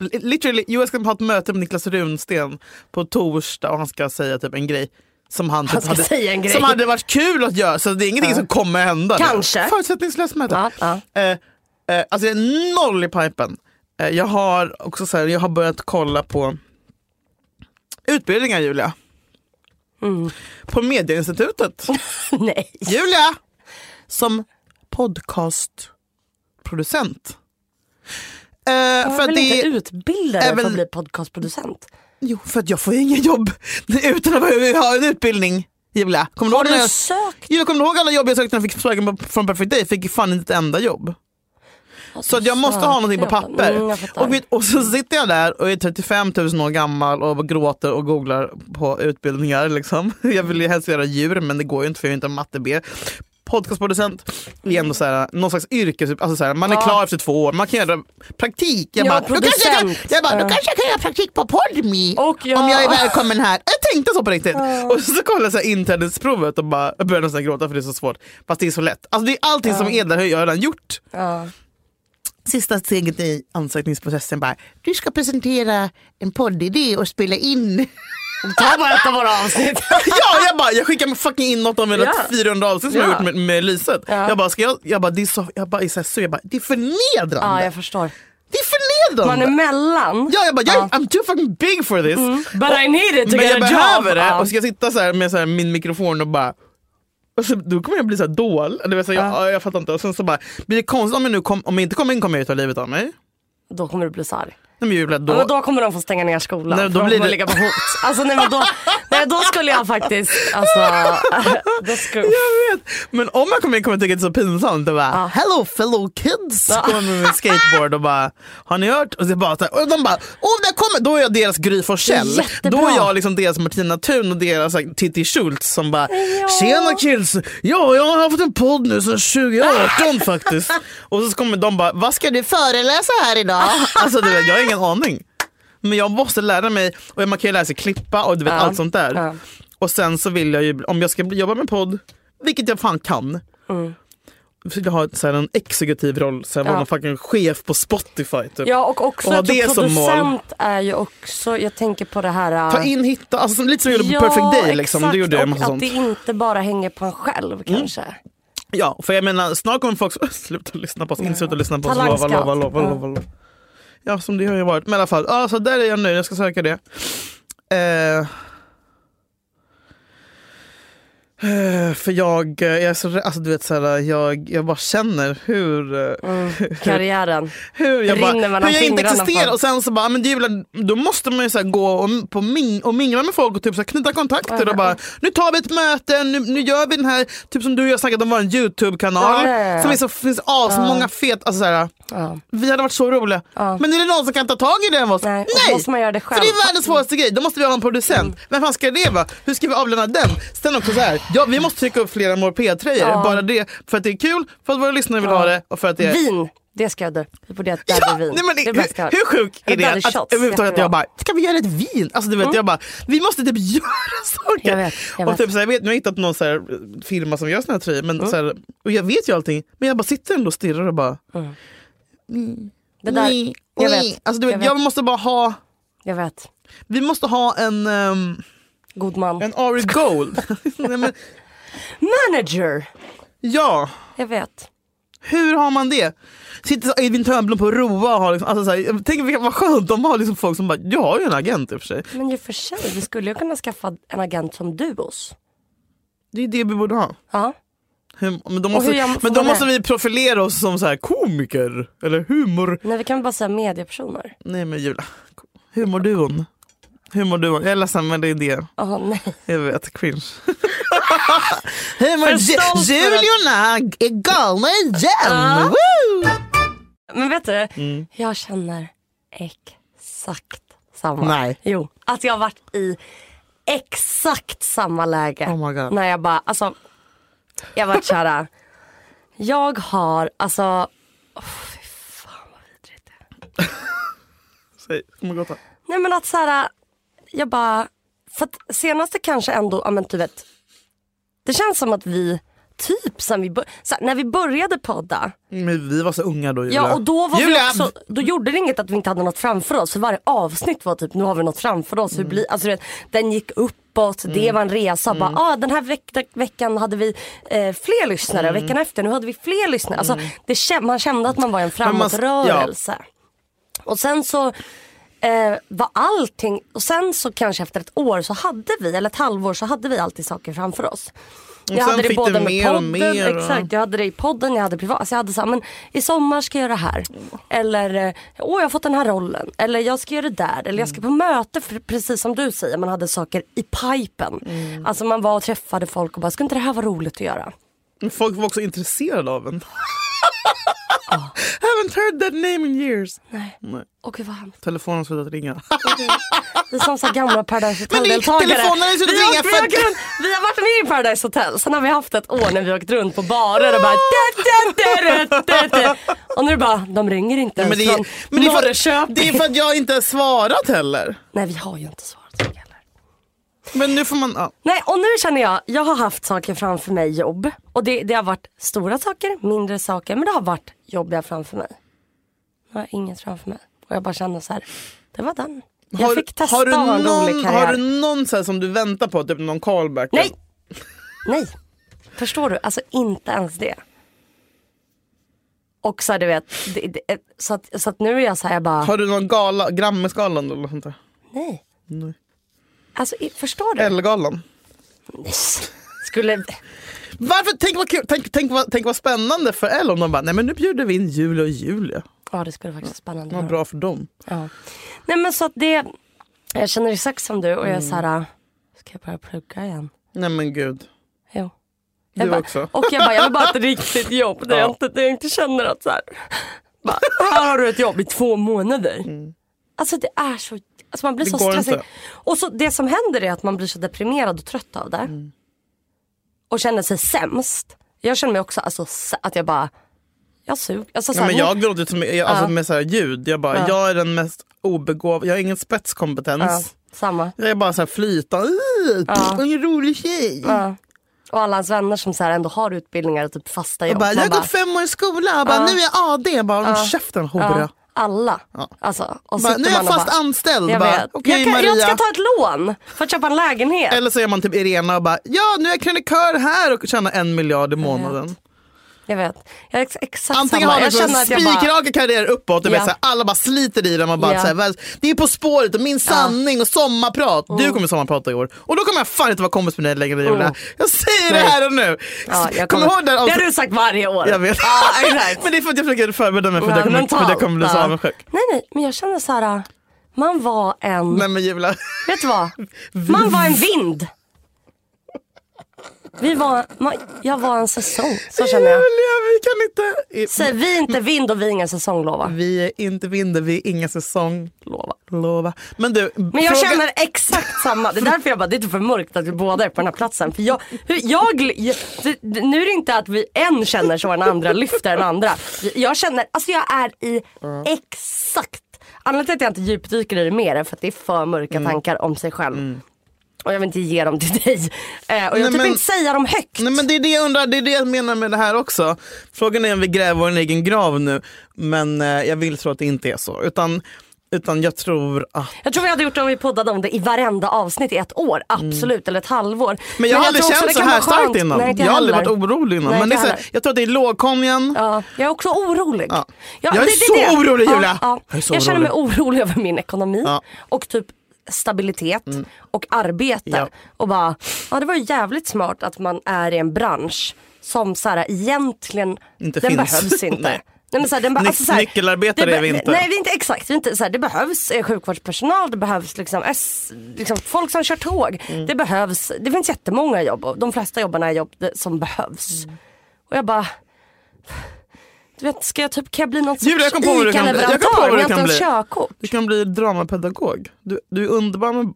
[SPEAKER 2] li- literally, Joel ska ha ett möte med Niklas Runsten på torsdag och han ska säga typ en grej som han, typ
[SPEAKER 3] Han ska
[SPEAKER 2] hade,
[SPEAKER 3] säga en grej.
[SPEAKER 2] som hade varit kul att göra. Så det är ingenting som kommer hända. nu.
[SPEAKER 3] Kanske.
[SPEAKER 2] Förutsättningslöst möte.
[SPEAKER 3] Ja,
[SPEAKER 2] Eh, eh, alltså jag är noll i pipen. Eh, jag har också så här, jag har börjat kolla på utbildningar Julia.
[SPEAKER 3] Mm.
[SPEAKER 2] På Medieinstitutet.
[SPEAKER 3] Nej.
[SPEAKER 2] Julia! Som podcastproducent. Eh,
[SPEAKER 3] Jag
[SPEAKER 2] för
[SPEAKER 3] vill
[SPEAKER 2] att det
[SPEAKER 3] inte utbilda
[SPEAKER 2] är
[SPEAKER 3] dig för att
[SPEAKER 2] väl-
[SPEAKER 3] bli podcastproducent.
[SPEAKER 2] Jo, för att jag får ju ingen jobb utan att ha en utbildning. Julia, kommer du
[SPEAKER 3] Har
[SPEAKER 2] ihåg, när
[SPEAKER 3] du
[SPEAKER 2] jag,
[SPEAKER 3] sökt?
[SPEAKER 2] jag kommer ihåg alla jobb jag sökte när jag fick frågan på- från Perfect Day? Fick fan inte ett enda jobb. Så att jag måste ha någonting på papper.
[SPEAKER 3] Mm, jag fattar.
[SPEAKER 2] och, mitt, och så sitter jag där och är 35 000 år gammal och gråter och googlar på utbildningar. Liksom. Jag vill ju helst göra djur men det går ju inte för jag är inte en matte B. podcastproducent är ändå så här, någon slags yrke. Alltså så här, man är klar efter två år, man kan göra praktik. Jag bara,
[SPEAKER 3] Ja,
[SPEAKER 2] då kanske jag, kan,
[SPEAKER 3] producent.
[SPEAKER 2] jag bara, då kanske jag kan göra praktik på Podme
[SPEAKER 3] Och jag-
[SPEAKER 2] om jag är välkommen här. Jag tänkte så på riktigt. Och så kollade jag så här inträdesprovet och bara, jag började nästan gråta för det är så svårt. Fast det är så lätt. Alltså det är allting som är där, har jag redan gjort. Sista steget i ansökningsprocessen bara, du ska presentera en poddidé och spela in
[SPEAKER 3] Ta bara ett av våra avsnitt.
[SPEAKER 2] ja, jag bara, jag skickar fucking in något av mina
[SPEAKER 3] Ja.
[SPEAKER 2] 400 avsnitt som jag
[SPEAKER 3] Ja.
[SPEAKER 2] har gjort med, med Lyset. Jag bara, ska jag, jag bara, det är så, jag bara, är så, här, sur. jag bara, det är förnedrande.
[SPEAKER 3] Ja, jag förstår.
[SPEAKER 2] Det är förnedrande.
[SPEAKER 3] Man är mellan.
[SPEAKER 2] Ja, jag bara, jag, I'm too fucking big for this.
[SPEAKER 3] But I need it to
[SPEAKER 2] Men
[SPEAKER 3] get
[SPEAKER 2] jag
[SPEAKER 3] a job.
[SPEAKER 2] behöver det.
[SPEAKER 3] Ja.
[SPEAKER 2] Och ska jag sitta så här med så här min mikrofon och bara Alltså, då kommer jag bli så här dål. Det vill säga, jag, jag fattar inte. Och sen så bara, blir det konstigt om jag, nu kom, om jag inte kommer in kommer jag ju ta livet av mig. Nej,
[SPEAKER 3] Då kommer du bli så arg.
[SPEAKER 2] men jag blir
[SPEAKER 3] Ja,
[SPEAKER 2] då,
[SPEAKER 3] men då kommer de få stänga ner skolan.
[SPEAKER 2] Nej,
[SPEAKER 3] Nej,
[SPEAKER 2] då
[SPEAKER 3] då de
[SPEAKER 2] blir
[SPEAKER 3] kommer
[SPEAKER 2] det-
[SPEAKER 3] ligga på hot. Alltså, nej, men då, nej, då skulle jag faktiskt... Alltså, då skulle,
[SPEAKER 2] Jag vet. Men om jag kommer in kommer jag tycka att det är så pinsamt. Och bara, Hello fellow kids! Kommer med min skateboard och bara, har ni hört? Och, det är bara så här, och de bara, oh, där kommer. Då är jag deras Gry Forssell.
[SPEAKER 3] Jättebra.
[SPEAKER 2] Då är jag liksom deras Martina Thun och deras så här, Titti Schultz som bara, tjena kids! Ja, jag har fått en podd nu sedan 2018 faktiskt. Och så kommer de bara, vad ska du föreläsa här idag? Alltså du vet, jag har ingen aning. Men jag måste lära mig, och man kan ju lära sig klippa och du vet
[SPEAKER 3] Ja.
[SPEAKER 2] allt sånt där.
[SPEAKER 3] Ja.
[SPEAKER 2] Och sen så vill jag ju, om jag ska bli- jobba med podd, vilket jag fan kan. Så jag har så här en exekutiv roll, så här, vara
[SPEAKER 3] Mm. Ja.
[SPEAKER 2] någon fucking chef på Spotify. Typ.
[SPEAKER 3] ja, och också
[SPEAKER 2] Och ha
[SPEAKER 3] att jag
[SPEAKER 2] det som mål.
[SPEAKER 3] producent är ju också... Jag tänker på det här... äh,
[SPEAKER 2] Ta in, hitta, alltså, som- lite som jag gjorde på Perfect Day. Liksom.
[SPEAKER 3] exakt.
[SPEAKER 2] Det gjorde jag en
[SPEAKER 3] och
[SPEAKER 2] massa
[SPEAKER 3] att
[SPEAKER 2] sånt. Mm.
[SPEAKER 3] det inte bara hänger på en själv kanske.
[SPEAKER 2] Ja, för jag menar snart kommer folk så- sluta lyssna på oss, inte sluta lyssna på oss. Lova,
[SPEAKER 3] Talangskatt.
[SPEAKER 2] lova, lova, lova, lova. Ja, som det har ju varit. Men i alla fall, ja, så där är jag nu. Jag ska söka det. Eh, eh, för jag, eh, jag är så rädd- alltså du vet såhär, jag, jag bara känner hur, eh,
[SPEAKER 3] Karriären.
[SPEAKER 2] hur jag,
[SPEAKER 3] Rinner
[SPEAKER 2] bara,
[SPEAKER 3] mellan
[SPEAKER 2] hur jag inte
[SPEAKER 3] fingrarna
[SPEAKER 2] existerar.
[SPEAKER 3] för.
[SPEAKER 2] Och sen så bara, "Ah, men det är jävla, då måste man ju så här gå och, på ming, och mingla med folk och typ så här knyta kontakter och bara, nu tar vi ett möte, nu, nu gör vi den här, typ som du och jag snackat om, var en YouTube-kanal.
[SPEAKER 3] Ja, ja, ja, ja.
[SPEAKER 2] Som är så, finns asmånga fet, alltså så här, vi hade varit så roliga. Men är det någon som kan ta tag i det än oss?
[SPEAKER 3] Nej, och så måste man göra det själv. Mm.
[SPEAKER 2] För det är världens svåraste grej, då måste vi ha en producent. Vem fan ska det vara? Hur ska vi avlöna den? Sen också så här, ja, vi måste trycka upp flera More P-tröjor, bara det för att det är kul, för att våra lyssnare vill ha det och för att det är
[SPEAKER 3] Vin. Det ska jag dö. Vi borde göra ett
[SPEAKER 2] Ja,
[SPEAKER 3] daddy vin.
[SPEAKER 2] nej, men,
[SPEAKER 3] det är
[SPEAKER 2] hur,
[SPEAKER 3] det bästa jag har.
[SPEAKER 2] hur sjuk är
[SPEAKER 3] Eller
[SPEAKER 2] det
[SPEAKER 3] daddy
[SPEAKER 2] att
[SPEAKER 3] shots,
[SPEAKER 2] överhuvudtaget
[SPEAKER 3] jättebra. Mm.
[SPEAKER 2] jag bara, ska vi göra ett vin? Alltså du vet, jag bara, vi måste typ göra saker.
[SPEAKER 3] Jag vet, jag
[SPEAKER 2] och
[SPEAKER 3] vet. Mm.
[SPEAKER 2] typ så här, jag vet, nu har jag hittat någon så här, firma som gör såna här tröjor, men så här, och jag vet ju allting, men jag bara sitter ändå och stirrar och bara,
[SPEAKER 3] Det där,
[SPEAKER 2] nej,
[SPEAKER 3] jag,
[SPEAKER 2] nej.
[SPEAKER 3] vet,
[SPEAKER 2] Alltså, du vet,
[SPEAKER 3] jag
[SPEAKER 2] jag,
[SPEAKER 3] vet.
[SPEAKER 2] måste bara ha,
[SPEAKER 3] jag vet.
[SPEAKER 2] vi måste ha en, ehm,
[SPEAKER 3] God man.
[SPEAKER 2] en Ari Gold. nej, men,
[SPEAKER 3] Manager.
[SPEAKER 2] ja,
[SPEAKER 3] Jag vet.
[SPEAKER 2] hur har man det? Sitter så Edvin Törnblom på Roa och har liksom, alltså, så här, tänk vilka- vad skönt de har liksom folk som bara, jag har ju en agent i och för sig.
[SPEAKER 3] Men i och för sig, vi skulle ju kunna skaffa en agent som du hos.
[SPEAKER 2] Det är det vi borde ha.
[SPEAKER 3] Ja.
[SPEAKER 2] Hur, men då
[SPEAKER 3] hur jag
[SPEAKER 2] måste,
[SPEAKER 3] får
[SPEAKER 2] men då
[SPEAKER 3] vara
[SPEAKER 2] måste
[SPEAKER 3] med.
[SPEAKER 2] vi profilera oss som så här komiker eller humor...
[SPEAKER 3] Nej, vi kan väl bara säga mediepersoner.
[SPEAKER 2] Nej men Julia, humorduon. Humorduon. Jag är ledsen men det är det.
[SPEAKER 3] Jaha, nej.
[SPEAKER 2] Jag vet, cringe. Humor, Ju-
[SPEAKER 3] Förstås för att-
[SPEAKER 2] Juliorna är galna igen!
[SPEAKER 3] Ja.
[SPEAKER 2] Woo!
[SPEAKER 3] Men vet du,
[SPEAKER 2] Mm.
[SPEAKER 3] jag känner exakt samma.
[SPEAKER 2] Nej.
[SPEAKER 3] Jo, att jag har varit i exakt samma läge.
[SPEAKER 2] Oh my God.
[SPEAKER 3] När jag bara, alltså, jag har varit såhär, jag har, alltså, åh, fy fan vad vidrigt det är.
[SPEAKER 2] Säg, kom och gråta.
[SPEAKER 3] Nej men att såhär, jag bara, för att senaste kanske ändå, ja men du vet, det känns som att vi, typ sen vi, bör- så här, när vi började podda,
[SPEAKER 2] Men vi var så unga då Julia.
[SPEAKER 3] Ja och då var
[SPEAKER 2] Julia!
[SPEAKER 3] vi också, då gjorde det inget att vi inte hade något framför oss. För varje avsnitt var typ, nu har vi något framför oss.
[SPEAKER 2] Mm.
[SPEAKER 3] Hur blir, alltså, du vet, den gick uppåt, det var en resa.
[SPEAKER 2] Mm.
[SPEAKER 3] Bara, ah, den här veck- veckan hade vi eh, fler lyssnare,
[SPEAKER 2] Mm.
[SPEAKER 3] veckan efter nu hade vi fler lyssnare. Alltså, det, kä- man kände att man var i en
[SPEAKER 2] Men man-
[SPEAKER 3] framåtrörelse. Och sen så eh, var allting, och sen så kanske efter ett år så hade vi, eller ett halvår så hade vi alltid saker framför oss. Jag
[SPEAKER 2] sen
[SPEAKER 3] hade det
[SPEAKER 2] fick
[SPEAKER 3] både
[SPEAKER 2] du
[SPEAKER 3] med
[SPEAKER 2] mer och
[SPEAKER 3] podden,
[SPEAKER 2] mer och-
[SPEAKER 3] exakt. Jag hade det i podden, jag hade privat. Alltså jag hade så här, men i sommar ska jag göra det här. Eller, eh, åh jag har fått den här rollen. Eller jag ska göra det där. Eller jag ska
[SPEAKER 2] Mm.
[SPEAKER 3] på möte, för precis som du säger. Man hade saker i pipen.
[SPEAKER 2] Mm.
[SPEAKER 3] Alltså man var och träffade folk och bara, skulle inte det här vara roligt att göra?
[SPEAKER 2] Men Folk var också intresserade av en. Haven't heard that name in years.
[SPEAKER 3] Nej.
[SPEAKER 2] Nej.
[SPEAKER 3] Åh gud vad hemskt.
[SPEAKER 2] Telefonen slutade ringa.
[SPEAKER 3] Vi är som så här gamla Paradise
[SPEAKER 2] Men det-
[SPEAKER 3] Hotel-deltagare.
[SPEAKER 2] telefonerna är så
[SPEAKER 3] vi,
[SPEAKER 2] ringa
[SPEAKER 3] åkte- vi,
[SPEAKER 2] för-
[SPEAKER 3] åker runt- vi har varit med i Paradise Hotel, sen har vi haft ett år när vi åkt runt på barer och bara... Da, da, da, da, da, da. Och nu är det bara, de ringer inte ens
[SPEAKER 2] Men det,
[SPEAKER 3] från
[SPEAKER 2] är- men det, är för,
[SPEAKER 3] Norrköping.
[SPEAKER 2] det är för att jag inte har svarat heller.
[SPEAKER 3] Nej vi har ju inte svarat så mycket heller.
[SPEAKER 2] Men nu får man... Ja.
[SPEAKER 3] Nej och nu känner jag, jag har haft saker framför mig jobb. Och det, det har varit stora saker, mindre saker, men det har varit jobbiga framför mig. Jag har inget framför mig. Och jag bara känner så här, det var den. Jag
[SPEAKER 2] Har-
[SPEAKER 3] fick testa
[SPEAKER 2] har du
[SPEAKER 3] att ha en rolig
[SPEAKER 2] någon,
[SPEAKER 3] karriär.
[SPEAKER 2] Har du någon så här som du väntar på? Typ någon callback?
[SPEAKER 3] Nej! Nej. Förstår du? Alltså inte ens det. Och så här, du vet, det, det, så, att, så att nu är jag så här, jag bara,
[SPEAKER 2] Har du någon gala, Grammisgalan eller något sånt där?
[SPEAKER 3] nej. Alltså i- förstår du?
[SPEAKER 2] Ellegalan?
[SPEAKER 3] Skulle,
[SPEAKER 2] Varför? Tänk vad, kul, tänk, tänk, vad, tänk vad spännande för Elle om de bara, nej men nu bjuder vi in Julia och Julia.
[SPEAKER 3] ja det skulle faktiskt vara spännande.
[SPEAKER 2] Vad
[SPEAKER 3] vara.
[SPEAKER 2] bra för dem.
[SPEAKER 3] Ja. Nej men så att det, jag känner exakt som du och jag är
[SPEAKER 2] Mm.
[SPEAKER 3] så här, ska jag börja plugga igen?
[SPEAKER 2] Nej men gud.
[SPEAKER 3] Jo.
[SPEAKER 2] Du
[SPEAKER 3] Jag bara,
[SPEAKER 2] också.
[SPEAKER 3] Och jag bara, jag vill bara ha ett riktigt jobb där, jag, inte, där jag inte känner att så här, bara, här har du ett jobb i två månader. Alltså det är så, alltså man blir
[SPEAKER 2] Mm. Det
[SPEAKER 3] så
[SPEAKER 2] går
[SPEAKER 3] stressad.
[SPEAKER 2] inte.
[SPEAKER 3] Och så det som händer är att man blir så deprimerad och trött av det.
[SPEAKER 2] Mm.
[SPEAKER 3] Och känner sig sämst. Jag känner mig också, alltså s- att jag bara, jag suger. Alltså, så
[SPEAKER 2] Nej,
[SPEAKER 3] här,
[SPEAKER 2] men
[SPEAKER 3] nu-
[SPEAKER 2] jag gråter ut som, jag, alltså,
[SPEAKER 3] Ja.
[SPEAKER 2] med så här ljud. Jag bara,
[SPEAKER 3] Ja.
[SPEAKER 2] jag är den mest obegåvade, jag har ingen spetskompetens.
[SPEAKER 3] ja, samma.
[SPEAKER 2] Jag är bara så här flytande. Uh,
[SPEAKER 3] Ja.
[SPEAKER 2] Ingen rolig tjej.
[SPEAKER 3] Ja. Och alla hans vänner som så här ändå har utbildningar och typ fasta jobb.
[SPEAKER 2] Jag, bara,
[SPEAKER 3] Man
[SPEAKER 2] jag har
[SPEAKER 3] bara,
[SPEAKER 2] gått fem år i skola, jag bara, nu är jag AD. Jag bara, håll käften hora.
[SPEAKER 3] alla. Alltså, och
[SPEAKER 2] Bara,
[SPEAKER 3] sitter
[SPEAKER 2] nu är jag
[SPEAKER 3] man och
[SPEAKER 2] fast
[SPEAKER 3] bara,
[SPEAKER 2] anställd.
[SPEAKER 3] Jag
[SPEAKER 2] Bara,
[SPEAKER 3] vet.
[SPEAKER 2] Okej
[SPEAKER 3] jag, kan, jag
[SPEAKER 2] Maria.
[SPEAKER 3] ska ta ett lån för att köpa en lägenhet.
[SPEAKER 2] Eller så är man typ Irena och bara, ja nu är jag krönikör här och tjänar en miljard i månaden.
[SPEAKER 3] Jag vet. Jag är ex- exakt
[SPEAKER 2] Antingen
[SPEAKER 3] samma.
[SPEAKER 2] har man
[SPEAKER 3] Jag
[SPEAKER 2] så
[SPEAKER 3] känner
[SPEAKER 2] en
[SPEAKER 3] att jag bara...
[SPEAKER 2] spikraka karriär uppåt, och vet,
[SPEAKER 3] Ja.
[SPEAKER 2] så här, alla bara sliter i den. Man bara,
[SPEAKER 3] Ja.
[SPEAKER 2] så här, väl, det är På spåret och Min sanning och Sommarprat.
[SPEAKER 3] Oh.
[SPEAKER 2] Du kommer sommarprata i år och då kommer jag fan inte vara kompis med dig längre Julia. Jag säger det här och nu.
[SPEAKER 3] Ja, jag
[SPEAKER 2] Kommer
[SPEAKER 3] kommer,
[SPEAKER 2] du ihåg den
[SPEAKER 3] det har
[SPEAKER 2] avsnittet?
[SPEAKER 3] du sagt varje år.
[SPEAKER 2] Jag vet.
[SPEAKER 3] Ja, exakt.
[SPEAKER 2] men det är för att jag försöker förbereda mig för att jag
[SPEAKER 3] Ja,
[SPEAKER 2] kommer, för att jag kommer bli så
[SPEAKER 3] mentalt, ja.
[SPEAKER 2] avundsjuk.
[SPEAKER 3] Nej, nej, men jag känner så här. Man var en...
[SPEAKER 2] Nej men Julia.
[SPEAKER 3] Vet du vad? Man var en vind. Vi var... Man, jag var en säsong. Så känner jag.
[SPEAKER 2] Julia vi kan inte.
[SPEAKER 3] Säg, vi är inte vind och vi är ingen säsong, lova.
[SPEAKER 2] Vi är inte vinter, vi är ingen säsong.
[SPEAKER 3] lova.
[SPEAKER 2] Lova. Men du,
[SPEAKER 3] Men jag
[SPEAKER 2] fråga-
[SPEAKER 3] känner exakt samma. Det är därför jag bara, det är inte för mörkt att vi båda är på den här platsen. För jag, hur- jag, jag, det- nu är det inte att vi en känner så och den andra lyfter den andra. Jag känner, alltså jag är i exakt. Anledningen till att jag inte djupdyker i det mer är för att det är för mörka
[SPEAKER 2] Mm.
[SPEAKER 3] tankar om sig själv. Och jag vill inte ge dem till dig. Eh, och jag
[SPEAKER 2] Nej,
[SPEAKER 3] vill typ
[SPEAKER 2] men-
[SPEAKER 3] inte säga dem högt.
[SPEAKER 2] Nej, men det är det jag undrar, det är det jag menar med det här också. Frågan är om vi gräver vår egen grav nu, men eh, jag vill tro att det inte är så. Utan, utan jag tror att...
[SPEAKER 3] Jag tror vi hade gjort det om vi poddade om det i varenda avsnitt i ett år. Absolut, eller ett halvår.
[SPEAKER 2] Mm. Men jag har aldrig
[SPEAKER 3] tror också
[SPEAKER 2] känt
[SPEAKER 3] det
[SPEAKER 2] så
[SPEAKER 3] kan vara
[SPEAKER 2] här starkt
[SPEAKER 3] skönt.
[SPEAKER 2] innan.
[SPEAKER 3] Nej, inte
[SPEAKER 2] jag har aldrig varit
[SPEAKER 3] heller.
[SPEAKER 2] orolig innan.
[SPEAKER 3] Nej,
[SPEAKER 2] men det är
[SPEAKER 3] inte
[SPEAKER 2] så här,
[SPEAKER 3] heller.
[SPEAKER 2] jag tror att det är lågkonjan.
[SPEAKER 3] Ja, jag är också orolig.
[SPEAKER 2] Ja. Jag är så orolig, Julia.
[SPEAKER 3] Ja,
[SPEAKER 2] Jag är
[SPEAKER 3] ja.
[SPEAKER 2] så
[SPEAKER 3] Jag känner mig
[SPEAKER 2] orolig.
[SPEAKER 3] orolig över min ekonomi
[SPEAKER 2] Ja. Mm.
[SPEAKER 3] och typ stabilitet och arbete.
[SPEAKER 2] Ja.
[SPEAKER 3] Och bara, ja det var ju jävligt smart att man är i en bransch som så här, egentligen,
[SPEAKER 2] Inte
[SPEAKER 3] den
[SPEAKER 2] finns.
[SPEAKER 3] behövs inte.
[SPEAKER 2] Nej.
[SPEAKER 3] Nej, men så här, den bara,
[SPEAKER 2] Nyc-
[SPEAKER 3] alltså så här,
[SPEAKER 2] nyckelarbetare
[SPEAKER 3] det be-
[SPEAKER 2] är vi inte.
[SPEAKER 3] Nej vi är inte exakt, vi är inte, så här, det behövs eh, sjukvårdspersonal, det behövs liksom, S, liksom folk som kör tåg.
[SPEAKER 2] Mm.
[SPEAKER 3] Det behövs, det finns jättemånga jobb och de flesta jobben är jobb eh, som behövs. Och jag bara, du vet, ska jag typ, kan jag bli någon sorts
[SPEAKER 2] Julia, jag kom på vad du kan bli. Jag kom på
[SPEAKER 3] ICA-leverantör
[SPEAKER 2] vad du
[SPEAKER 3] om jag inte
[SPEAKER 2] kan
[SPEAKER 3] ens
[SPEAKER 2] bli.
[SPEAKER 3] körkort?
[SPEAKER 2] Du kan bli dramapedagog. Du, du är underbar med...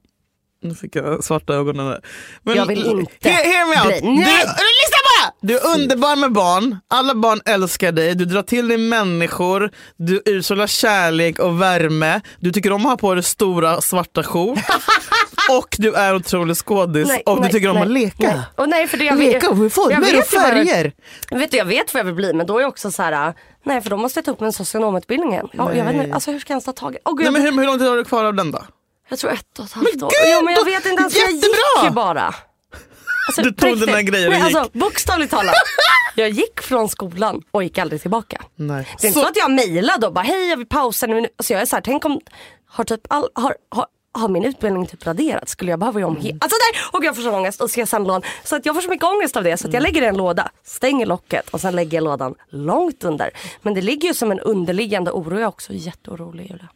[SPEAKER 2] Nu fick jag svarta ögonen där. Men-
[SPEAKER 3] Jag vill inte
[SPEAKER 2] Hear, hear me out.
[SPEAKER 3] bli-
[SPEAKER 2] Du,
[SPEAKER 3] Nej.
[SPEAKER 2] lyssna bara! Du är underbar med barn. Alla barn älskar dig. Du drar till dig människor. Du utstrålar kärlek och värme. Du tycker om att ha på dig stora svarta skjortor. och du är otrolig skådis.
[SPEAKER 3] Nej,
[SPEAKER 2] och
[SPEAKER 3] nej,
[SPEAKER 2] du tycker om
[SPEAKER 3] nej,
[SPEAKER 2] att leka.
[SPEAKER 3] nej. Och nej, för det jag
[SPEAKER 2] Leka med
[SPEAKER 3] jag
[SPEAKER 2] former och
[SPEAKER 3] vet ju vad jag-
[SPEAKER 2] färger.
[SPEAKER 3] Vet du, jag vet vad jag vill bli men då är jag också så här. Nej för då måste jag ta upp en socionomutbildning igen. Ja, jag vet inte, alltså hur ska jag ens ta tag i? Åh gud,
[SPEAKER 2] Nej, men
[SPEAKER 3] jag,
[SPEAKER 2] hur, hur lång tid har du kvar av den då?
[SPEAKER 3] jag tror ett och ett halvt år.
[SPEAKER 2] gud,
[SPEAKER 3] ja, men jag
[SPEAKER 2] då-
[SPEAKER 3] vet inte ens, jag gick
[SPEAKER 2] jättebra!
[SPEAKER 3] ju bara. Alltså,
[SPEAKER 2] Du
[SPEAKER 3] på
[SPEAKER 2] tog
[SPEAKER 3] riktigt.
[SPEAKER 2] dina grejer och
[SPEAKER 3] Nej,
[SPEAKER 2] gick.
[SPEAKER 3] alltså bokstavligt talat. Jag gick från skolan och gick aldrig tillbaka.
[SPEAKER 2] Nej.
[SPEAKER 3] Det är inte så, att jag mejlade och bara hej jag vill pausa nu. Alltså jag är så här, tänk om, har, typ all, har, har, har min utbildning typ raderats? Skulle jag behöva göra om he- Alltså där! Och jag får sån ångest och så jag lån. Så att jag får så mycket ångest av det så att
[SPEAKER 2] Mm.
[SPEAKER 3] jag lägger det i en låda, stänger locket och sen lägger jag lådan långt under. Men det ligger ju som en underliggande oro. Jag är också jätteorolig Julia.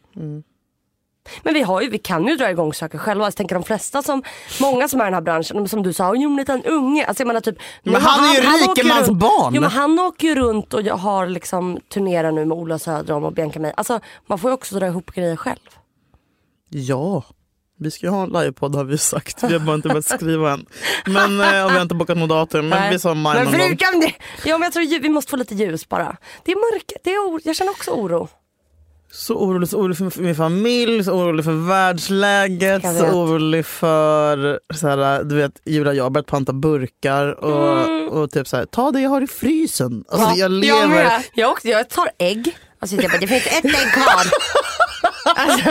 [SPEAKER 3] Men vi, har ju, vi kan ju dra igång saker själva. Alltså, tänker de flesta som, många som är i den här branschen, de som du sa, jo men liten unge. Alltså, jag menar, typ,
[SPEAKER 2] Men han är ju rikemans
[SPEAKER 3] runt,
[SPEAKER 2] barn.
[SPEAKER 3] Jo men han åker ju runt och jag har liksom turnerar nu med Ola Söderholm och Bianca Mei. Alltså man får ju också dra ihop grejer själv.
[SPEAKER 2] Ja, vi ska ju ha en livepodd har vi sagt. Vi har bara inte börjat skriva än. Men, eh, och vi har inte bokat något datum. Men vi sa maj
[SPEAKER 3] men
[SPEAKER 2] någon gång.
[SPEAKER 3] förutom det, ja, men jag tror ju- vi måste få lite ljus bara. Det är mörkt, det är or- jag känner också oro.
[SPEAKER 2] Alltså, Så orolig, så orolig för min familj, så orolig för världsläget,
[SPEAKER 3] Jag
[SPEAKER 2] så
[SPEAKER 3] vet.
[SPEAKER 2] orolig för så här, du vet, Julia och jag har börjat panta burkar och, och typ så här, ta det jag har i frysen. Alltså, jag
[SPEAKER 3] Mm. Jag,
[SPEAKER 2] lever. Jag,
[SPEAKER 3] jag, åkte- jag tar ägg. Alltså, jag bara, det finns ett ägg kvar. Alltså,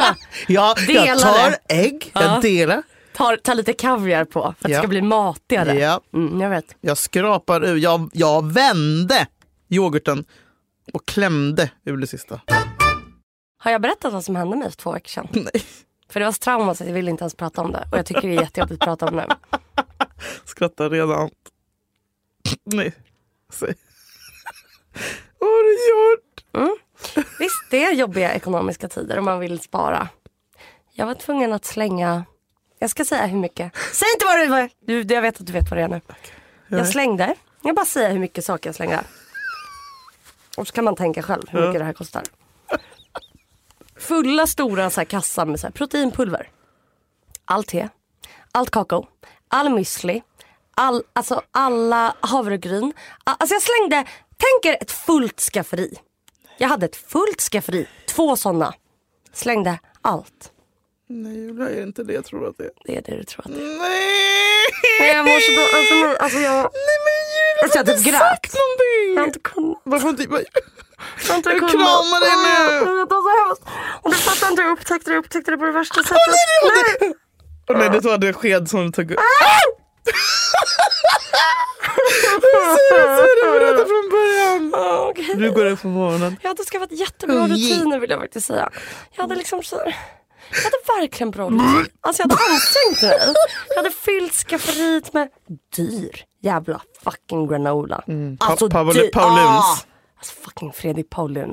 [SPEAKER 2] jag,
[SPEAKER 3] Dela
[SPEAKER 2] tar
[SPEAKER 3] det.
[SPEAKER 2] ägg, jag delar,
[SPEAKER 3] tar, tar lite kaviar på för att det
[SPEAKER 2] Ja.
[SPEAKER 3] ska bli matigare.
[SPEAKER 2] Ja.
[SPEAKER 3] Mm, jag vet.
[SPEAKER 2] jag skrapar ur, jag, jag vände yoghurten och klämde ur det sista.
[SPEAKER 3] Har jag berättat vad som hände mig för två veckor sedan?
[SPEAKER 2] Nej,
[SPEAKER 3] För det var så trauma så jag vill inte ens prata om det. Och jag tycker det är jättejobbigt att prata om nu.
[SPEAKER 2] skrattar redan. Nej, säg. Vad har du gjort?
[SPEAKER 3] Visst, det är jobbiga ekonomiska tider om man vill spara. Jag var tvungen att slänga... Jag ska säga hur mycket. Säg inte vad det var! Du, jag vet att du vet vad det är nu. Jag slängde. Jag bara säger hur mycket saker jag slängde. Och så kan man tänka själv hur mycket det här kostar. Fulla stora så här kassar med så här proteinpulver. Allt te. Allt kakao. All müsli. All, alltså alla havregryn. A- Alltså jag slängde, tänk er ett fullt skafferi. Jag hade ett fullt skafferi, två sådana. Slängde allt.
[SPEAKER 2] Nej Julia, är det inte det jag tror att det är?
[SPEAKER 3] Det är det du tror att det är.
[SPEAKER 2] Nej!
[SPEAKER 3] Nej, jag mår så bra. Alltså, nej, alltså jag...
[SPEAKER 2] Nej men Julia,
[SPEAKER 3] Alltså, jag
[SPEAKER 2] varför
[SPEAKER 3] typ
[SPEAKER 2] har inte
[SPEAKER 3] grät.
[SPEAKER 2] sagt
[SPEAKER 3] Jag har
[SPEAKER 2] någonting?
[SPEAKER 3] inte kunnat.
[SPEAKER 2] Varför inte...
[SPEAKER 3] Jag har inte
[SPEAKER 2] Jag
[SPEAKER 3] kunnat.
[SPEAKER 2] kramar dig nu.
[SPEAKER 3] Mm, Det var så hemskt. Och du fattar inte, jag upptäckte det, jag upptäckte det på det värsta sättet.
[SPEAKER 2] nej, det- Åh nej, det var det sked som du tog upp.
[SPEAKER 3] Ah!
[SPEAKER 2] Säg det, berätta från början.
[SPEAKER 3] Ah, okej.
[SPEAKER 2] Du går upp på morgonen.
[SPEAKER 3] Jag hade skaffat jättebra rutiner vill jag faktiskt säga. Jag hade liksom så Jag hade verkligen bra rutiner. Alltså jag hade ansträngt mig. Jag hade fyllt skafferiet med dyr jävla fucking granola. Alltså
[SPEAKER 2] Mm. Pa- Paul-
[SPEAKER 3] dyr-
[SPEAKER 2] Paulins.
[SPEAKER 3] Ah! Alltså fucking Fredrik Paulun.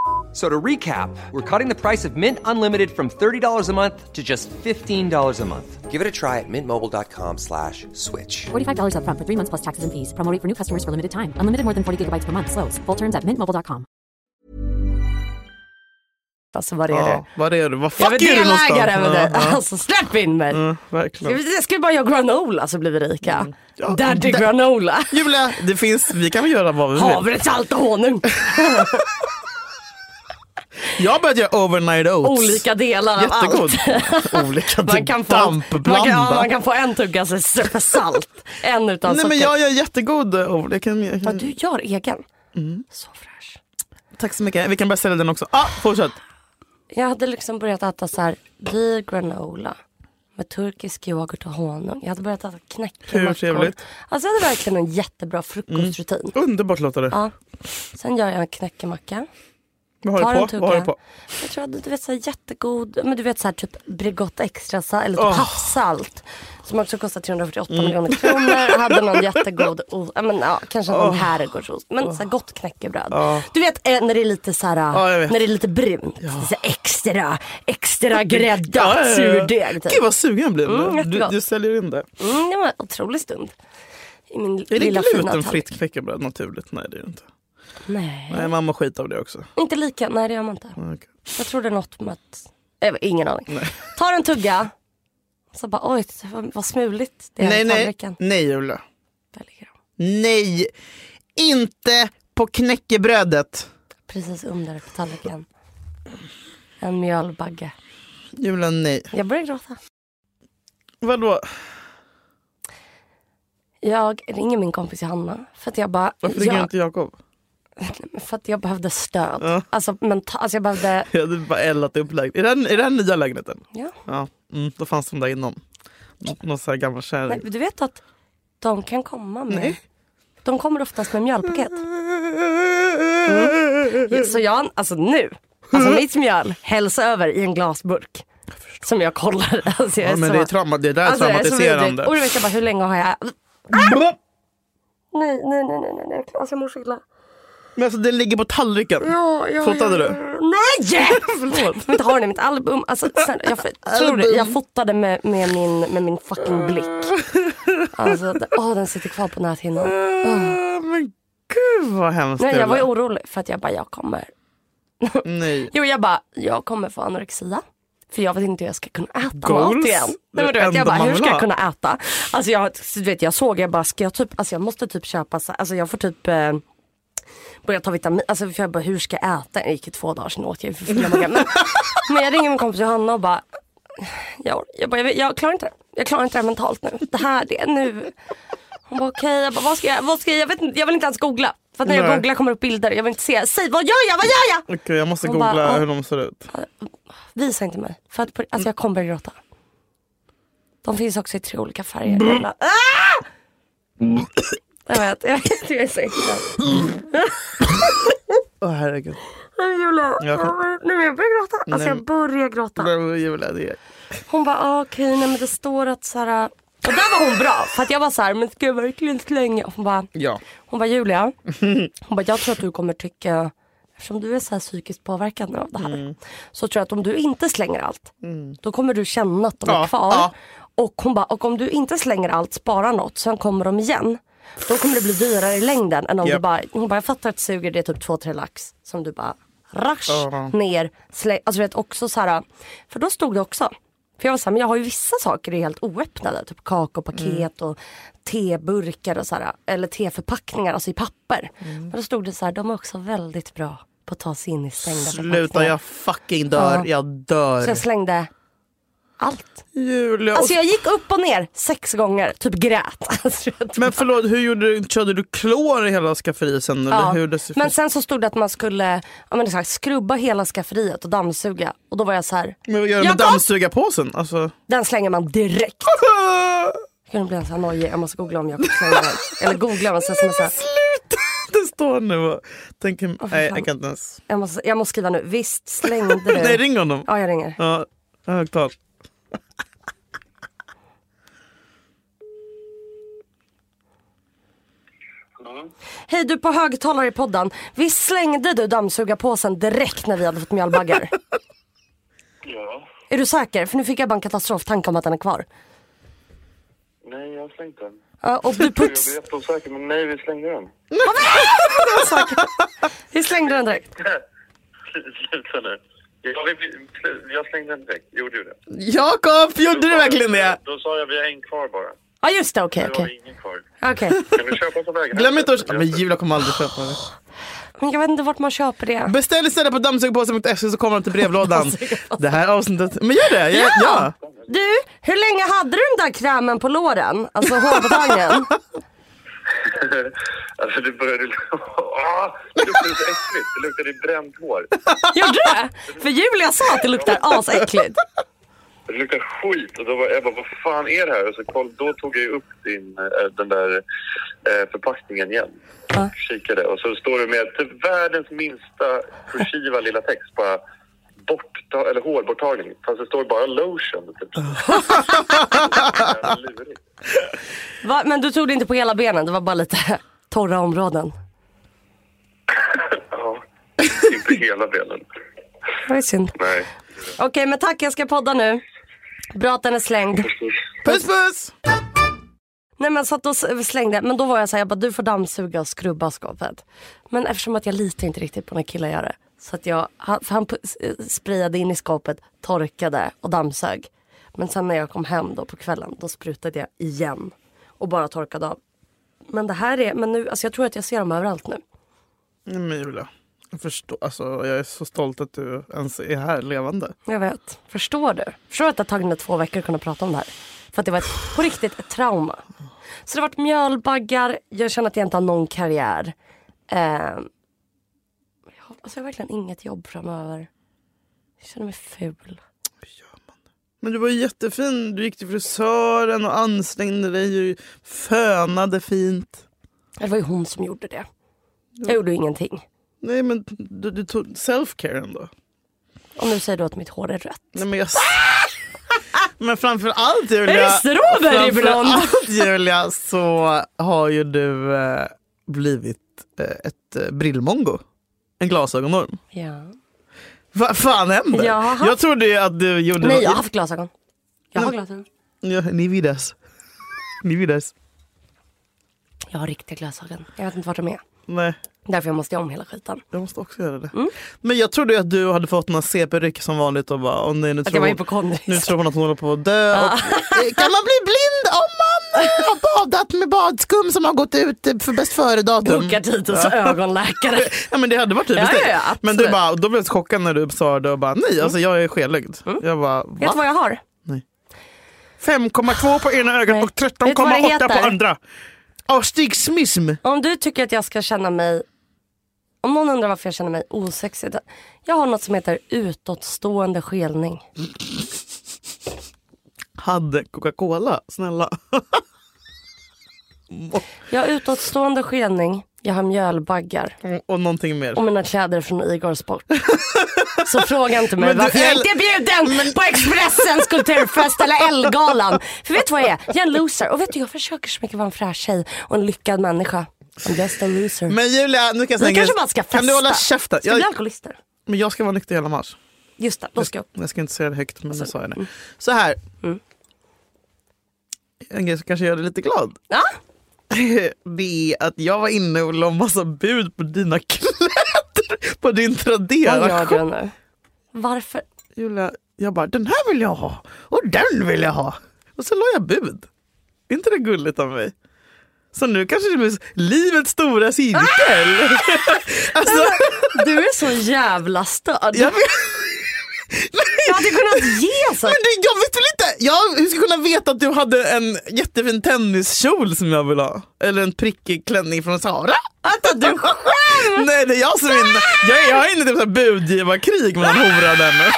[SPEAKER 5] So to recap, we're cutting the price of Mint Unlimited from $30 a month to just $15 a month. Give it a try at mintmobile.com slash switch.
[SPEAKER 6] $45 upfront for three months plus taxes and fees. Promo rate for new customers for limited time. Unlimited more than 40 gigabytes per month. Slows. Full terms at mintmobile.com.
[SPEAKER 3] Alltså vad är det?
[SPEAKER 2] Ja, var är du? Vad
[SPEAKER 3] Jag är
[SPEAKER 2] fuck är du någonstans?
[SPEAKER 3] delägare med dig.
[SPEAKER 2] Ja, Mm. ja.
[SPEAKER 3] Alltså släpp in mig.
[SPEAKER 2] Ja, verkligen.
[SPEAKER 3] Jag skulle bara göra granola så blir vi rika.
[SPEAKER 2] Mm. Ja, Mm.
[SPEAKER 3] Daddy
[SPEAKER 2] da-
[SPEAKER 3] granola.
[SPEAKER 2] Julia, det finns, vi kan väl göra vad vi vill.
[SPEAKER 3] Havre, salt och honung.
[SPEAKER 2] Jag har börjat göra overnight oats.
[SPEAKER 3] Olika delar av allt.
[SPEAKER 2] Jättegod. Olika typ
[SPEAKER 3] Man kan, få, man, kan,
[SPEAKER 2] dampblanda.
[SPEAKER 3] ja, man kan få en tugga så super salt, en utan
[SPEAKER 2] Nej
[SPEAKER 3] socker.
[SPEAKER 2] men jag gör jättegod oats. Jag kan, jag
[SPEAKER 3] Ja,
[SPEAKER 2] kan...
[SPEAKER 3] du gör egen.
[SPEAKER 2] Mm.
[SPEAKER 3] Så fräsch.
[SPEAKER 2] Tack så mycket. Vi kan börja sälja den också. Ah, fortsätt.
[SPEAKER 3] Jag hade liksom börjat äta så här dyr granola med turkisk yoghurt och honung. Jag hade börjat äta
[SPEAKER 2] Hur
[SPEAKER 3] knäckemackor.
[SPEAKER 2] trevligt. Mm.
[SPEAKER 3] Alltså jag hade verkligen en jättebra frukostrutin.
[SPEAKER 2] Underbart låter det.
[SPEAKER 3] Sen gör jag en knäckemacka.
[SPEAKER 2] Vad har
[SPEAKER 3] tar
[SPEAKER 2] du
[SPEAKER 3] en
[SPEAKER 2] på? Vad har du
[SPEAKER 3] tugga.
[SPEAKER 2] på?
[SPEAKER 3] Jag tror att du vet så här jättegod, men du vet så här typ Bregott extra salt eller typ
[SPEAKER 2] Åh. Mm.
[SPEAKER 3] havssalt. Som också kostar 348 miljoner kronor. Jag hade någon jättegod ost, ja, men, ja, kanske någon herrgårdsost. Men så här gott knäckebröd. Du vet eh, när det är lite så här,
[SPEAKER 2] jag vet.
[SPEAKER 3] när det är lite brunt. Så här extra, extra gräddat
[SPEAKER 2] Ja, ja, ja.
[SPEAKER 3] surdeg. Typ.
[SPEAKER 2] Gud vad sugen jag blev.
[SPEAKER 3] Mm,
[SPEAKER 2] nu. du,
[SPEAKER 3] jättegott.
[SPEAKER 2] du säljer in det.
[SPEAKER 3] Mm, det var en otrolig stund. I min
[SPEAKER 2] Är det
[SPEAKER 3] lilla fina
[SPEAKER 2] glutenfritt
[SPEAKER 3] tallrik.
[SPEAKER 2] knäckebröd naturligt? Nej det är det inte.
[SPEAKER 3] Nej.
[SPEAKER 2] Nej mamma skit av det också.
[SPEAKER 3] Inte lika, nej det gör man inte.
[SPEAKER 2] Okej.
[SPEAKER 3] Jag tror det är något med att... Jag har ingen aning. Tar en tugga. Så bara oj, vad- vad smuligt det är
[SPEAKER 2] Nej
[SPEAKER 3] i
[SPEAKER 2] nej.
[SPEAKER 3] tallriken.
[SPEAKER 2] Nej Julia.
[SPEAKER 3] Där ligger de.
[SPEAKER 2] Nej. Inte på knäckebrödet.
[SPEAKER 3] Precis under på tallriken. En mjölbagge.
[SPEAKER 2] Julia nej.
[SPEAKER 3] Jag börjar gråta.
[SPEAKER 2] Vadå?
[SPEAKER 3] Jag ringer min kompis Johanna för att jag bara...
[SPEAKER 2] Varför ringer
[SPEAKER 3] jag,
[SPEAKER 2] inte Jakob?
[SPEAKER 3] För att jag behövde stöd.
[SPEAKER 2] Ja.
[SPEAKER 3] Alltså, menta- alltså jag behövde...
[SPEAKER 2] Jag hade bara eldat upp lägenheten. Är den, är den nya lägenheten?
[SPEAKER 3] Ja.
[SPEAKER 2] Ja. Mm, då fanns de där inom. Nå- Någon sån här gammal
[SPEAKER 3] Mm. Nej,
[SPEAKER 2] kärring.
[SPEAKER 3] du vet att de kan komma med...
[SPEAKER 2] Nej.
[SPEAKER 3] De kommer oftast med mjölpaket.
[SPEAKER 2] Mm.
[SPEAKER 3] Så jag, alltså nu, alltså mitt mjöl hälls över i en glasburk. Som jag kollar. Alltså jag
[SPEAKER 2] Ja, men
[SPEAKER 3] så,
[SPEAKER 2] det, är trauma, det där är
[SPEAKER 3] alltså jag är så vidrig. Och
[SPEAKER 2] traumatiserande.
[SPEAKER 3] du vet jag bara, hur länge har jag... Nej, nej, nej, nej, nej, nej. Alltså jag mår så illa.
[SPEAKER 2] Men alltså den ligger på tallriken.
[SPEAKER 3] Ja, ja,
[SPEAKER 2] Fotade du?
[SPEAKER 3] ja, Nej! Förlåt. Jag inte har den i mitt album. Alltså, sen, jag, f- tror det, jag fotade med, med, min, med min fucking blick. Alltså, d- åh, den sitter kvar på näthinnan.
[SPEAKER 2] Eh, Men gud vad hemskt
[SPEAKER 3] Nej,
[SPEAKER 2] det
[SPEAKER 3] jag var ju
[SPEAKER 2] lät.
[SPEAKER 3] orolig för att jag bara, jag kommer.
[SPEAKER 2] Nej.
[SPEAKER 3] Jo, jag bara, jag kommer få anorexia. För jag vet inte hur jag ska kunna äta mat
[SPEAKER 2] Goals.
[SPEAKER 3] igen.
[SPEAKER 2] Det
[SPEAKER 3] Nej, men du vet,
[SPEAKER 2] enda
[SPEAKER 3] jag bara,
[SPEAKER 2] man
[SPEAKER 3] hur
[SPEAKER 2] vill
[SPEAKER 3] ska jag
[SPEAKER 2] ha.
[SPEAKER 3] kunna äta? Alltså jag, du vet, jag såg, jag bara, ska jag typ, alltså jag måste typ köpa, så- alltså jag får typ eh, börja ta vitamin, alltså för jag bara, hur ska jag äta? Det gick ju två dagar sedan åt jag ju för fulla magar. men, men jag ringer min kompis Johanna och bara, jag, jag, bara, jag, vet- jag klarar inte det. Jag klarar inte det här mentalt nu. Det här, det är nu. Hon bara okej, jag bara, vad ska jag, vad ska jag, jag, vet, inte- jag vill inte ens googla. För att när jag
[SPEAKER 2] Nej.
[SPEAKER 3] googlar kommer upp bilder, jag vill inte se, säg vad gör jag, vad gör jag?
[SPEAKER 2] Okej, jag måste
[SPEAKER 3] Hon
[SPEAKER 2] googla
[SPEAKER 3] bara, ah.
[SPEAKER 2] hur de ser ut.
[SPEAKER 3] Visa inte mig. För att på, alltså jag kommer börja gråta. De finns också i tre olika färger. Jävla- Ah! Mm. Jag vet, jag vet. Jag är så äcklad.
[SPEAKER 2] Åh herregud.
[SPEAKER 3] Nej, Julia,
[SPEAKER 2] Jag kan-
[SPEAKER 3] jag- nu jag börjar gråta. Alltså
[SPEAKER 2] Nej.
[SPEAKER 3] jag börjar gråta.
[SPEAKER 2] Det var Julia, det är-
[SPEAKER 3] Hon bara ah, okej, nej men det står att så här. ah." Och där var hon bra. För att jag var så här, men ska jag verkligen slänga? Och Hon bara,
[SPEAKER 2] Ja.
[SPEAKER 3] hon bara Julia, hon bara jag tror att du kommer tycka, eftersom du är så här psykiskt påverkad nu av det här.
[SPEAKER 2] Mm.
[SPEAKER 3] Så tror jag att om du inte slänger allt, då kommer du känna att de är
[SPEAKER 2] Ja,
[SPEAKER 3] kvar.
[SPEAKER 2] ja.
[SPEAKER 3] Och hon bara, och om du inte slänger allt, spara något, sen kommer de igen. Då kommer det bli dyrare i längden än om du
[SPEAKER 2] Japp.
[SPEAKER 3] bara, hon bara jag fattar att det suger, det är typ två, tre lax som du bara rasch
[SPEAKER 2] Ja.
[SPEAKER 3] ner, släng, alltså du vet också så här, för då stod det också för jag var såhär, men jag har ju vissa saker är helt oöppnade. Typ kakaopaket
[SPEAKER 2] Mm.
[SPEAKER 3] och teburkar och såhär. Eller teförpackningar, alltså i papper.
[SPEAKER 2] Mm.
[SPEAKER 3] Men då stod det såhär, de är också väldigt bra på att ta sig in i stängda
[SPEAKER 2] Sluta, jag fucking dör.
[SPEAKER 3] Ja.
[SPEAKER 2] Jag dör.
[SPEAKER 3] Så jag slängde allt.
[SPEAKER 2] Julia.
[SPEAKER 3] Alltså jag gick upp och ner sex gånger, typ grät. Alltså, jag typ-
[SPEAKER 2] Men förlåt, hur gjorde du, körde du klor i hela skafferiet sen? Eller
[SPEAKER 3] Ja.
[SPEAKER 2] hur det
[SPEAKER 3] Men sen så stod det att man skulle ja, men det är så här, skrubba hela skafferiet och dammsuga. Och då var jag så här,
[SPEAKER 2] men vad gör du med
[SPEAKER 3] Jag kom-
[SPEAKER 2] dammsugarpåsen? Alltså.
[SPEAKER 3] den slänger man direkt. Gud, nu blir jag så här nojig, jag måste googla om jag slänger den. Eller googla, men sen så måste jag...
[SPEAKER 2] Sluta! Det står nu och tänker,
[SPEAKER 3] Åh, för
[SPEAKER 2] nej
[SPEAKER 3] fan.
[SPEAKER 2] jag kan inte ens.
[SPEAKER 3] Jag måste, jag måste skriva nu. Visst slängde du?
[SPEAKER 2] Nej ring honom.
[SPEAKER 3] Ja, jag ringer.
[SPEAKER 2] Eh. Ja, högtal.
[SPEAKER 3] Hej, du på högtalare i podden. Visst slängde du dammsugarpåsen direkt när vi hade fått mjölbaggar?
[SPEAKER 7] Ja.
[SPEAKER 3] är du säker? För nu fick jag bara en katastroftanke om att den är kvar.
[SPEAKER 7] Nej, jag har slängt den.
[SPEAKER 3] Ja, och du
[SPEAKER 7] Jag
[SPEAKER 3] puts...
[SPEAKER 7] blir jätteosäker, men nej, vi slängde den.
[SPEAKER 3] Vi slängde den direkt.
[SPEAKER 7] Sluta nu. Ja, vi, vi- jag slängde den direkt. Gjorde du det?
[SPEAKER 2] Jakob, gjorde du verkligen det?
[SPEAKER 7] Då sa jag vi har en kvar bara.
[SPEAKER 3] Ja, just det. Okej,
[SPEAKER 7] Du har
[SPEAKER 3] okej.
[SPEAKER 7] ingen kvar.
[SPEAKER 3] Okej.
[SPEAKER 7] Kan du köpa på vägen?
[SPEAKER 2] Glöm inte att... Men Julia kommer aldrig köpa det.
[SPEAKER 3] Men jag vet inte vart man köper det.
[SPEAKER 2] Beställ istället på dammsugarpåsen.se så kommer de till brevlådan. det här avsnittet... Men gör det! Ja! ja.
[SPEAKER 3] Du, hur länge hade du den där krämen på låren? Alltså hårbetangen?
[SPEAKER 7] Alltså, det började... Ah, det luktade så äckligt. Det luktade bränt hår.
[SPEAKER 3] Gjorde du det? För Julia sa att det luktar asäckligt.
[SPEAKER 7] Det luktade skit. Och då var jag bara, vad fan är det här? Och så koll, då tog jag ju upp din, eh, den där eh, förpackningen igen.
[SPEAKER 3] Ja.
[SPEAKER 7] Kikade. Och så står det med typ världens minsta kursiva lilla text. Bara bortta, eller hårborttagning. Fast det står bara lotion. Typ. Jävla lurigt.
[SPEAKER 3] Va? Men du tog det inte på hela benen, det var bara lite torra områden.
[SPEAKER 7] ja. Inte hela benen.
[SPEAKER 3] Det var synd.
[SPEAKER 7] Nej.
[SPEAKER 3] Okej, men tack. Jag ska podda nu. Bra att den är slängd.
[SPEAKER 2] Puss puss!
[SPEAKER 3] Nej men så att då s- slängde jag. Men då var jag så här, jag bara du får dammsuga och skrubba skåpet. Men eftersom att jag litar inte riktigt på när killar gör det. Så att jag, han, för han pu- s- eh, sprayade in i skåpet, torkade och dammsög. Men sen när jag kom hem då på kvällen, då sprutade jag igen. Och bara torkade av. Men det här är, men nu, alltså jag tror att jag ser dem överallt nu.
[SPEAKER 2] Nej, Men Julia, jag förstår. Alltså, jag är så stolt att du ens är här levande.
[SPEAKER 3] Jag vet. Förstår du? Förstår du att det har tagit mig två veckor att kunna prata om det här? För att det var ett, på riktigt ett trauma. Så det har varit mjölbaggar, jag känner att jag inte har någon karriär. Eh, jag, har- alltså jag har verkligen inget jobb framöver. Jag känner mig ful.
[SPEAKER 2] Men du var ju jättefin. Du gick till frisören och ansträngde dig. Du fönade fint.
[SPEAKER 3] Det var ju hon som gjorde det. Jag gjorde ju ingenting.
[SPEAKER 2] Nej men du, du tog self-care ändå.
[SPEAKER 3] Och nu säger du att mitt hår är rött.
[SPEAKER 2] Nej, men, jag... men framför allt Julia.
[SPEAKER 3] Är det strawberry
[SPEAKER 2] framför
[SPEAKER 3] blond?
[SPEAKER 2] allt, Julia så har ju du eh, blivit eh, ett eh, brillmongo. En glasögonorm.
[SPEAKER 3] Ja.
[SPEAKER 2] Vad fan händer?
[SPEAKER 3] Jag har haft-
[SPEAKER 2] jag trodde ju att du gjorde
[SPEAKER 3] Nej,
[SPEAKER 2] något-
[SPEAKER 3] jag har haft glasögon. Jag har glasögon.
[SPEAKER 2] Ja, ni vidas. Ni vidas.
[SPEAKER 3] Jag har riktiga glasögon. Jag vet inte vart de är.
[SPEAKER 2] Nej,
[SPEAKER 3] Därför jag måste göra om hela skiten.
[SPEAKER 2] jag måste också göra det.
[SPEAKER 3] Mm.
[SPEAKER 2] Men jag trodde ju att du hade fått några CP-ryck som vanligt och bara, åh nej, nu
[SPEAKER 3] Att
[SPEAKER 2] tror
[SPEAKER 3] jag var
[SPEAKER 2] hon-
[SPEAKER 3] hypokondrisk. Ah.
[SPEAKER 2] Nu tror hon att hon håller på att dö. Och, eh, kan man bli blind om man eh, har badat med badskum som har gått ut eh, för bäst före-datum?
[SPEAKER 3] Boka tid hos ögonläkare.
[SPEAKER 2] Ja men det hade varit typiskt
[SPEAKER 3] Ja,
[SPEAKER 2] dig.
[SPEAKER 3] ja, ja,
[SPEAKER 2] Men du
[SPEAKER 3] absolut. Mm.
[SPEAKER 2] bara, då blev jag så chockad när du sa det och bara nej, alltså jag är skelögd. Jag bara,
[SPEAKER 3] Vet du
[SPEAKER 2] va?
[SPEAKER 3] vad jag har?
[SPEAKER 2] 5,2 på ena ögat
[SPEAKER 3] Nej.
[SPEAKER 2] och
[SPEAKER 3] Vet du vad det
[SPEAKER 2] 13,8 på
[SPEAKER 3] heter?
[SPEAKER 2] andra. Astigmism.
[SPEAKER 3] Om du tycker att jag ska känna mig, om någon undrar varför jag känner mig osexig. då- Jag har något som heter utåtstående skelning.
[SPEAKER 2] Hade Coca-Cola, snälla.
[SPEAKER 3] Jag har utåtstående skelning, jag har mjölbaggar
[SPEAKER 2] Och någonting mer.
[SPEAKER 3] och mina kläder är från Igor Sport. Så fråga inte mig
[SPEAKER 2] Men du
[SPEAKER 3] varför jag
[SPEAKER 2] äl-
[SPEAKER 3] inte är bjuden på Expressens kulturfest eller Ellegalan. För vet du vad jag är? Jag är en loser. Och vet du, jag försöker så mycket vara en fräsch tjej och en lyckad människa. I'm just a loser.
[SPEAKER 2] Men Julia, nu kan jag säga en
[SPEAKER 3] Vi kanske
[SPEAKER 2] grej.
[SPEAKER 3] bara ska festa.
[SPEAKER 2] Kan du hålla käften?
[SPEAKER 3] Ska
[SPEAKER 2] Jag,
[SPEAKER 3] bli alkoholister?
[SPEAKER 2] men jag ska vara nykter hela mars.
[SPEAKER 3] Just det, då ska jag.
[SPEAKER 2] Jag ska inte säga det högt
[SPEAKER 3] Alltså,
[SPEAKER 2] men nu sa jag
[SPEAKER 3] mm.
[SPEAKER 2] det. Så här. En grej som kanske gör dig lite glad.
[SPEAKER 3] Ja,
[SPEAKER 2] Det är att jag var inne och la massa bud på dina kläder på din
[SPEAKER 3] vad gör
[SPEAKER 2] Tradera.
[SPEAKER 3] du nu? Varför?
[SPEAKER 2] Julia, jag bara den här vill jag ha och den vill jag ha. Och så la jag bud. Är inte det gulligt av mig? Så nu kanske det blir livets
[SPEAKER 3] Ah!
[SPEAKER 2] stora cirkel. alltså,
[SPEAKER 3] Du är så jävla störd.
[SPEAKER 2] jag vet,
[SPEAKER 3] Jag hade kunnat ge så.
[SPEAKER 2] men det, jag vet väl inte. Jag, hur ska jag kunna veta att du hade en jättefin tenniskjol som jag vill ha? Eller en prickig klänning från Sara?
[SPEAKER 3] Vänta, du skäms!
[SPEAKER 2] Nej det är jag som är inne. Jag, jag är inne i typ så här budgivarkrig mellan horan henne.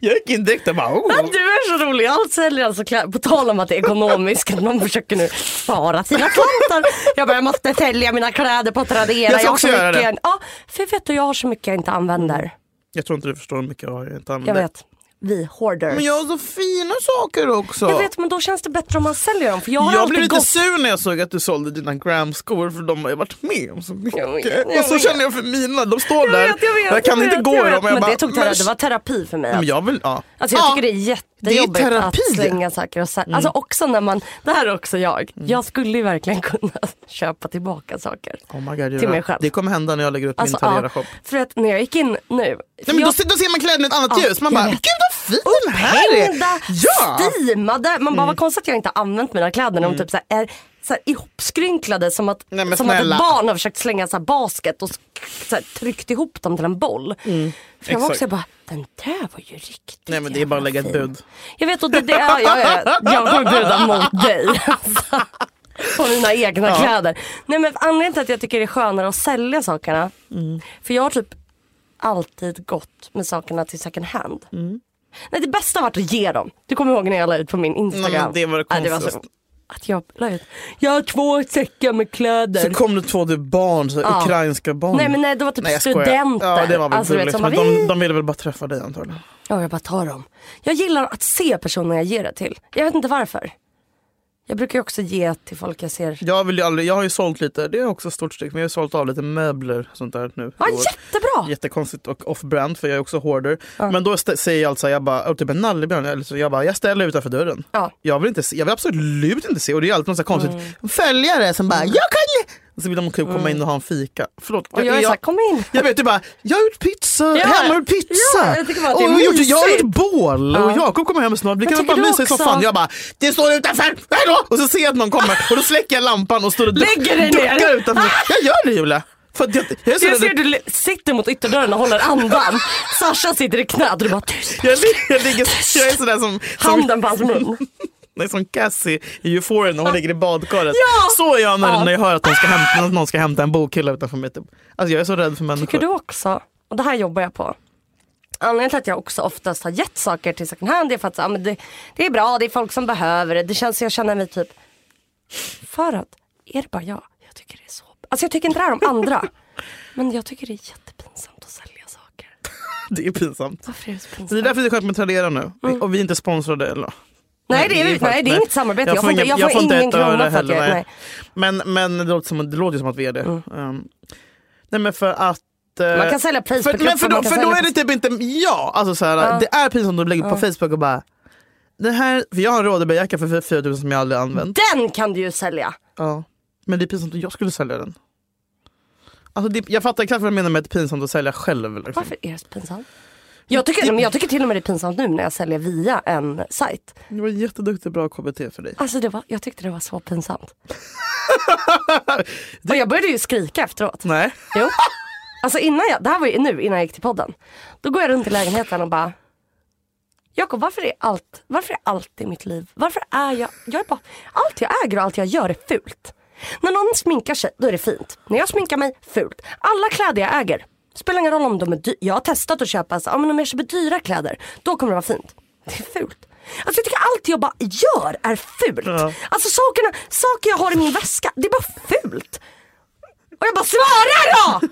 [SPEAKER 2] Jag gick in direkt och bara oh.
[SPEAKER 3] Du är så rolig. Allt säljer alltså kläder. På tal om att det är ekonomiskt. Att man försöker nu spara sina slantar. Jag bara, jag måste sälja mina kläder på Tradera.
[SPEAKER 2] ska
[SPEAKER 3] har
[SPEAKER 2] också
[SPEAKER 3] så
[SPEAKER 2] göra
[SPEAKER 3] mycket-
[SPEAKER 2] det.
[SPEAKER 3] Ja, för vet du, jag har så mycket jag inte använder.
[SPEAKER 2] Jag tror inte du förstår hur mycket jag har jag inte
[SPEAKER 3] Jag
[SPEAKER 2] använder.
[SPEAKER 3] vet. Vi hoarders.
[SPEAKER 2] Men jag har så fina saker också.
[SPEAKER 3] Jag vet, men då känns det bättre om man säljer dem. För jag har
[SPEAKER 2] Jag
[SPEAKER 3] alltid
[SPEAKER 2] blev lite
[SPEAKER 3] gått...
[SPEAKER 2] sur när jag såg att du sålde dina Gram-skor för de har ju varit med om så mycket.
[SPEAKER 3] Jag vet, jag
[SPEAKER 2] och så
[SPEAKER 3] vet.
[SPEAKER 2] känner jag för mina, de står
[SPEAKER 3] Jag
[SPEAKER 2] där.
[SPEAKER 3] vet, jag vet.
[SPEAKER 2] jag kan
[SPEAKER 3] jag
[SPEAKER 2] inte
[SPEAKER 3] vet,
[SPEAKER 2] gå
[SPEAKER 3] jag
[SPEAKER 2] i
[SPEAKER 3] vet.
[SPEAKER 2] dem.
[SPEAKER 3] Men
[SPEAKER 2] Jag bara, Mm,
[SPEAKER 3] det, tog terapi, det var terapi för mig.
[SPEAKER 2] men
[SPEAKER 3] att-
[SPEAKER 2] jag vill, ja.
[SPEAKER 3] Alltså jag
[SPEAKER 2] ja.
[SPEAKER 3] tycker det är jättejobbigt att
[SPEAKER 2] terapi. Mm.
[SPEAKER 3] slänga saker och sä- Alltså också när man, det här är också jag. Jag skulle ju verkligen kunna köpa tillbaka saker.
[SPEAKER 2] Oh my God,
[SPEAKER 3] till mig
[SPEAKER 2] Julia.
[SPEAKER 3] själv.
[SPEAKER 2] det kommer hända när jag lägger ut
[SPEAKER 3] Alltså,
[SPEAKER 2] min Tradera-shop.
[SPEAKER 3] ja, för att när jag gick in nu.
[SPEAKER 2] Nej, men
[SPEAKER 3] jag,
[SPEAKER 2] då, ser- då ser man kläderna i ett annat
[SPEAKER 3] Ja,
[SPEAKER 2] ljus. Man
[SPEAKER 3] jag
[SPEAKER 2] bara,
[SPEAKER 3] vet.
[SPEAKER 2] gud vad fin den här
[SPEAKER 3] Hända,
[SPEAKER 2] är. Ja. Mm.
[SPEAKER 3] steamade. Man bara, vad konstigt att jag inte har använt mina kläder. När de typ så här är så här ihopskrynklade som att,
[SPEAKER 2] Nej, men
[SPEAKER 3] som att ett
[SPEAKER 2] snälla.
[SPEAKER 3] barn har försökt slänga så här basket och sk- så här tryckt ihop dem till en boll. För jag var
[SPEAKER 2] Mm. exakt.
[SPEAKER 3] också jag bara, den där var ju riktigt
[SPEAKER 2] Nej men det är bara att lägga ett
[SPEAKER 3] jävla fin.
[SPEAKER 2] bud.
[SPEAKER 3] Jag vet och det, det är, jag, jag, jag kommer bjuda mot dig. Alltså, på mina egna kläder. Nej men anledningen till att jag tycker det är skönare att sälja sakerna.
[SPEAKER 2] Mm.
[SPEAKER 3] För jag har typ alltid gått med sakerna till second hand.
[SPEAKER 2] Mm.
[SPEAKER 3] Nej det bästa har varit att ge dem. Du kommer ihåg när jag la ut på min Instagram.
[SPEAKER 2] Nej, men Mm, det var det
[SPEAKER 3] Nej, var så,
[SPEAKER 2] konstigaste.
[SPEAKER 3] att jag la ut. Jag har två säckar med kläder.
[SPEAKER 2] Så kom det två typ barn, så här,
[SPEAKER 3] Ja.
[SPEAKER 2] ukrainska barn.
[SPEAKER 3] Nej, men nej, det var typ
[SPEAKER 2] jag skojar.
[SPEAKER 3] studenter.
[SPEAKER 2] Ja det var väl
[SPEAKER 3] Alltså, du vet,
[SPEAKER 2] gulligt.
[SPEAKER 3] som
[SPEAKER 2] men
[SPEAKER 3] bara,
[SPEAKER 2] de,
[SPEAKER 3] "Vi-"
[SPEAKER 2] de ville väl bara träffa dig antagligen.
[SPEAKER 3] Ja, jag bara tar dem. Jag gillar att se personer jag ger det till. Jag vet inte varför. Jag brukar ju också ge till folk jag ser.
[SPEAKER 2] Jag, vill ju aldrig, jag har ju sålt lite, det är också ett stort steg, men jag har sålt av lite möbler och sånt där nu.
[SPEAKER 3] Ja,
[SPEAKER 2] i år.
[SPEAKER 3] jättebra!
[SPEAKER 2] Jättekonstigt och off-brand för jag är också hoarder. Men då stä- säger jag alltså, jag bara, och typ en nallebjörn, eller så jag bara, jag ställer utanför dörren.
[SPEAKER 3] Ja. Mm.
[SPEAKER 2] Jag, vill inte se, jag vill absolut inte se, och det är alltid något så här konstigt följare som bara, jag kan Och så vill de typ komma in och ha en fika. Förlåt.
[SPEAKER 3] Och jag är såhär, kom in.
[SPEAKER 2] Jag vet, du bara, jag har gjort pizza, hemmagjord pizza.
[SPEAKER 3] ja, jag tycker bara att det är
[SPEAKER 2] och jag, har gjort, jag har
[SPEAKER 3] mysigt.
[SPEAKER 2] gjort bål och Jakob kommer hem snart. Vi
[SPEAKER 3] Men
[SPEAKER 2] kan
[SPEAKER 3] tycker
[SPEAKER 2] bara
[SPEAKER 3] du
[SPEAKER 2] mysa i
[SPEAKER 3] också-
[SPEAKER 2] soffan. Jag bara, det står utanför, hallå! Och så ser jag att någon kommer och då släcker jag lampan och står och
[SPEAKER 3] Lägger dig ner.
[SPEAKER 2] duckar utanför. Jag gör det Julia. För att jag, jag, är så
[SPEAKER 3] Jag ser
[SPEAKER 2] rädd.
[SPEAKER 3] du li- sitter mot ytterdörren och håller andan. Sasha sitter i knät och du bara tyst.
[SPEAKER 2] jag, li- jag, ligger, jag är sådär som, som,
[SPEAKER 3] Handen på hans mun.
[SPEAKER 2] nej, som Cassie i Euphoria när hon ligger i badkaret.
[SPEAKER 3] Ja.
[SPEAKER 2] Så är jag när,
[SPEAKER 3] Ja.
[SPEAKER 2] när jag hör att någon ska hämta, att någon ska hämta en bokhylla utanför mig. Typ. Alltså, jag är så rädd för människor.
[SPEAKER 3] Tycker du också, och det här jobbar jag på. Anledningen till att jag också oftast har gett saker till second hand är för att ja, men det, det är bra, det är folk som behöver det. Det känns, jag känner mig typ, för att, är det bara jag? Jag tycker det är så, alltså jag tycker inte det här om andra. Men jag tycker det är jättepinsamt att sälja saker.
[SPEAKER 2] Det är pinsamt.
[SPEAKER 3] Varför är det så pinsamt?
[SPEAKER 2] Så det är därför det är skönt med Tradera nu. Och vi är inte sponsrade. Eller?
[SPEAKER 3] Mm. nej, det är,
[SPEAKER 2] ju
[SPEAKER 3] nej,
[SPEAKER 2] faktiskt-
[SPEAKER 3] det är inget samarbete.
[SPEAKER 2] Jag får
[SPEAKER 3] inte-
[SPEAKER 2] ingen- jag får inte
[SPEAKER 3] ingen
[SPEAKER 2] ett öre
[SPEAKER 3] krona för att jag...
[SPEAKER 2] heller, nej.
[SPEAKER 3] Nej. Mm.
[SPEAKER 2] Men, men det, låter som, det låter ju som att vi är det. Um, nej men för att... eh,
[SPEAKER 3] Man kan sälja
[SPEAKER 2] för,
[SPEAKER 3] Facebook-grupper.
[SPEAKER 2] men för, då,
[SPEAKER 3] man kan
[SPEAKER 2] för då
[SPEAKER 3] sälja-
[SPEAKER 2] är det typ inte ja. Alltså så här, Det är pinsamt att lägga upp på Facebook och bara det här, för jag har en Rodebejacka för 4000 som jag aldrig använt.
[SPEAKER 3] Den kan du ju sälja.
[SPEAKER 2] Ja. Men det är pinsamt att jag skulle sälja den. Alltså det, jag fattar exakt vad du menar med att det är pinsamt att sälja själv. Liksom.
[SPEAKER 3] Varför är det så pinsamt? Jag tycker, men jag tycker till och med det är pinsamt nu när jag säljer via en sajt.
[SPEAKER 2] Det var jätteduktigt bra KBT för dig.
[SPEAKER 3] Alltså det var, jag tyckte det var så pinsamt. Och jag började ju skrika efteråt.
[SPEAKER 2] Nej.
[SPEAKER 3] Jo. Alltså innan jag, det här var ju nu innan jag gick till podden. Då går jag runt i lägenheten och bara Jakob varför är allt, varför är allt i mitt liv, varför är jag, jag är bara, allt jag äger och allt jag gör är fult. När någon sminkar sig, då är det fint. När jag sminkar mig, fult. Alla kläder jag äger, spelar ingen roll om de är dyra. Jag har testat att köpa, så, ja, men om jag köper dyra kläder, då kommer det vara fint. Det är fult. Alltså jag tycker allt jag bara gör är fult. Alltså sakerna, saker jag har i min väska, det är bara fult. Och jag bara svara då!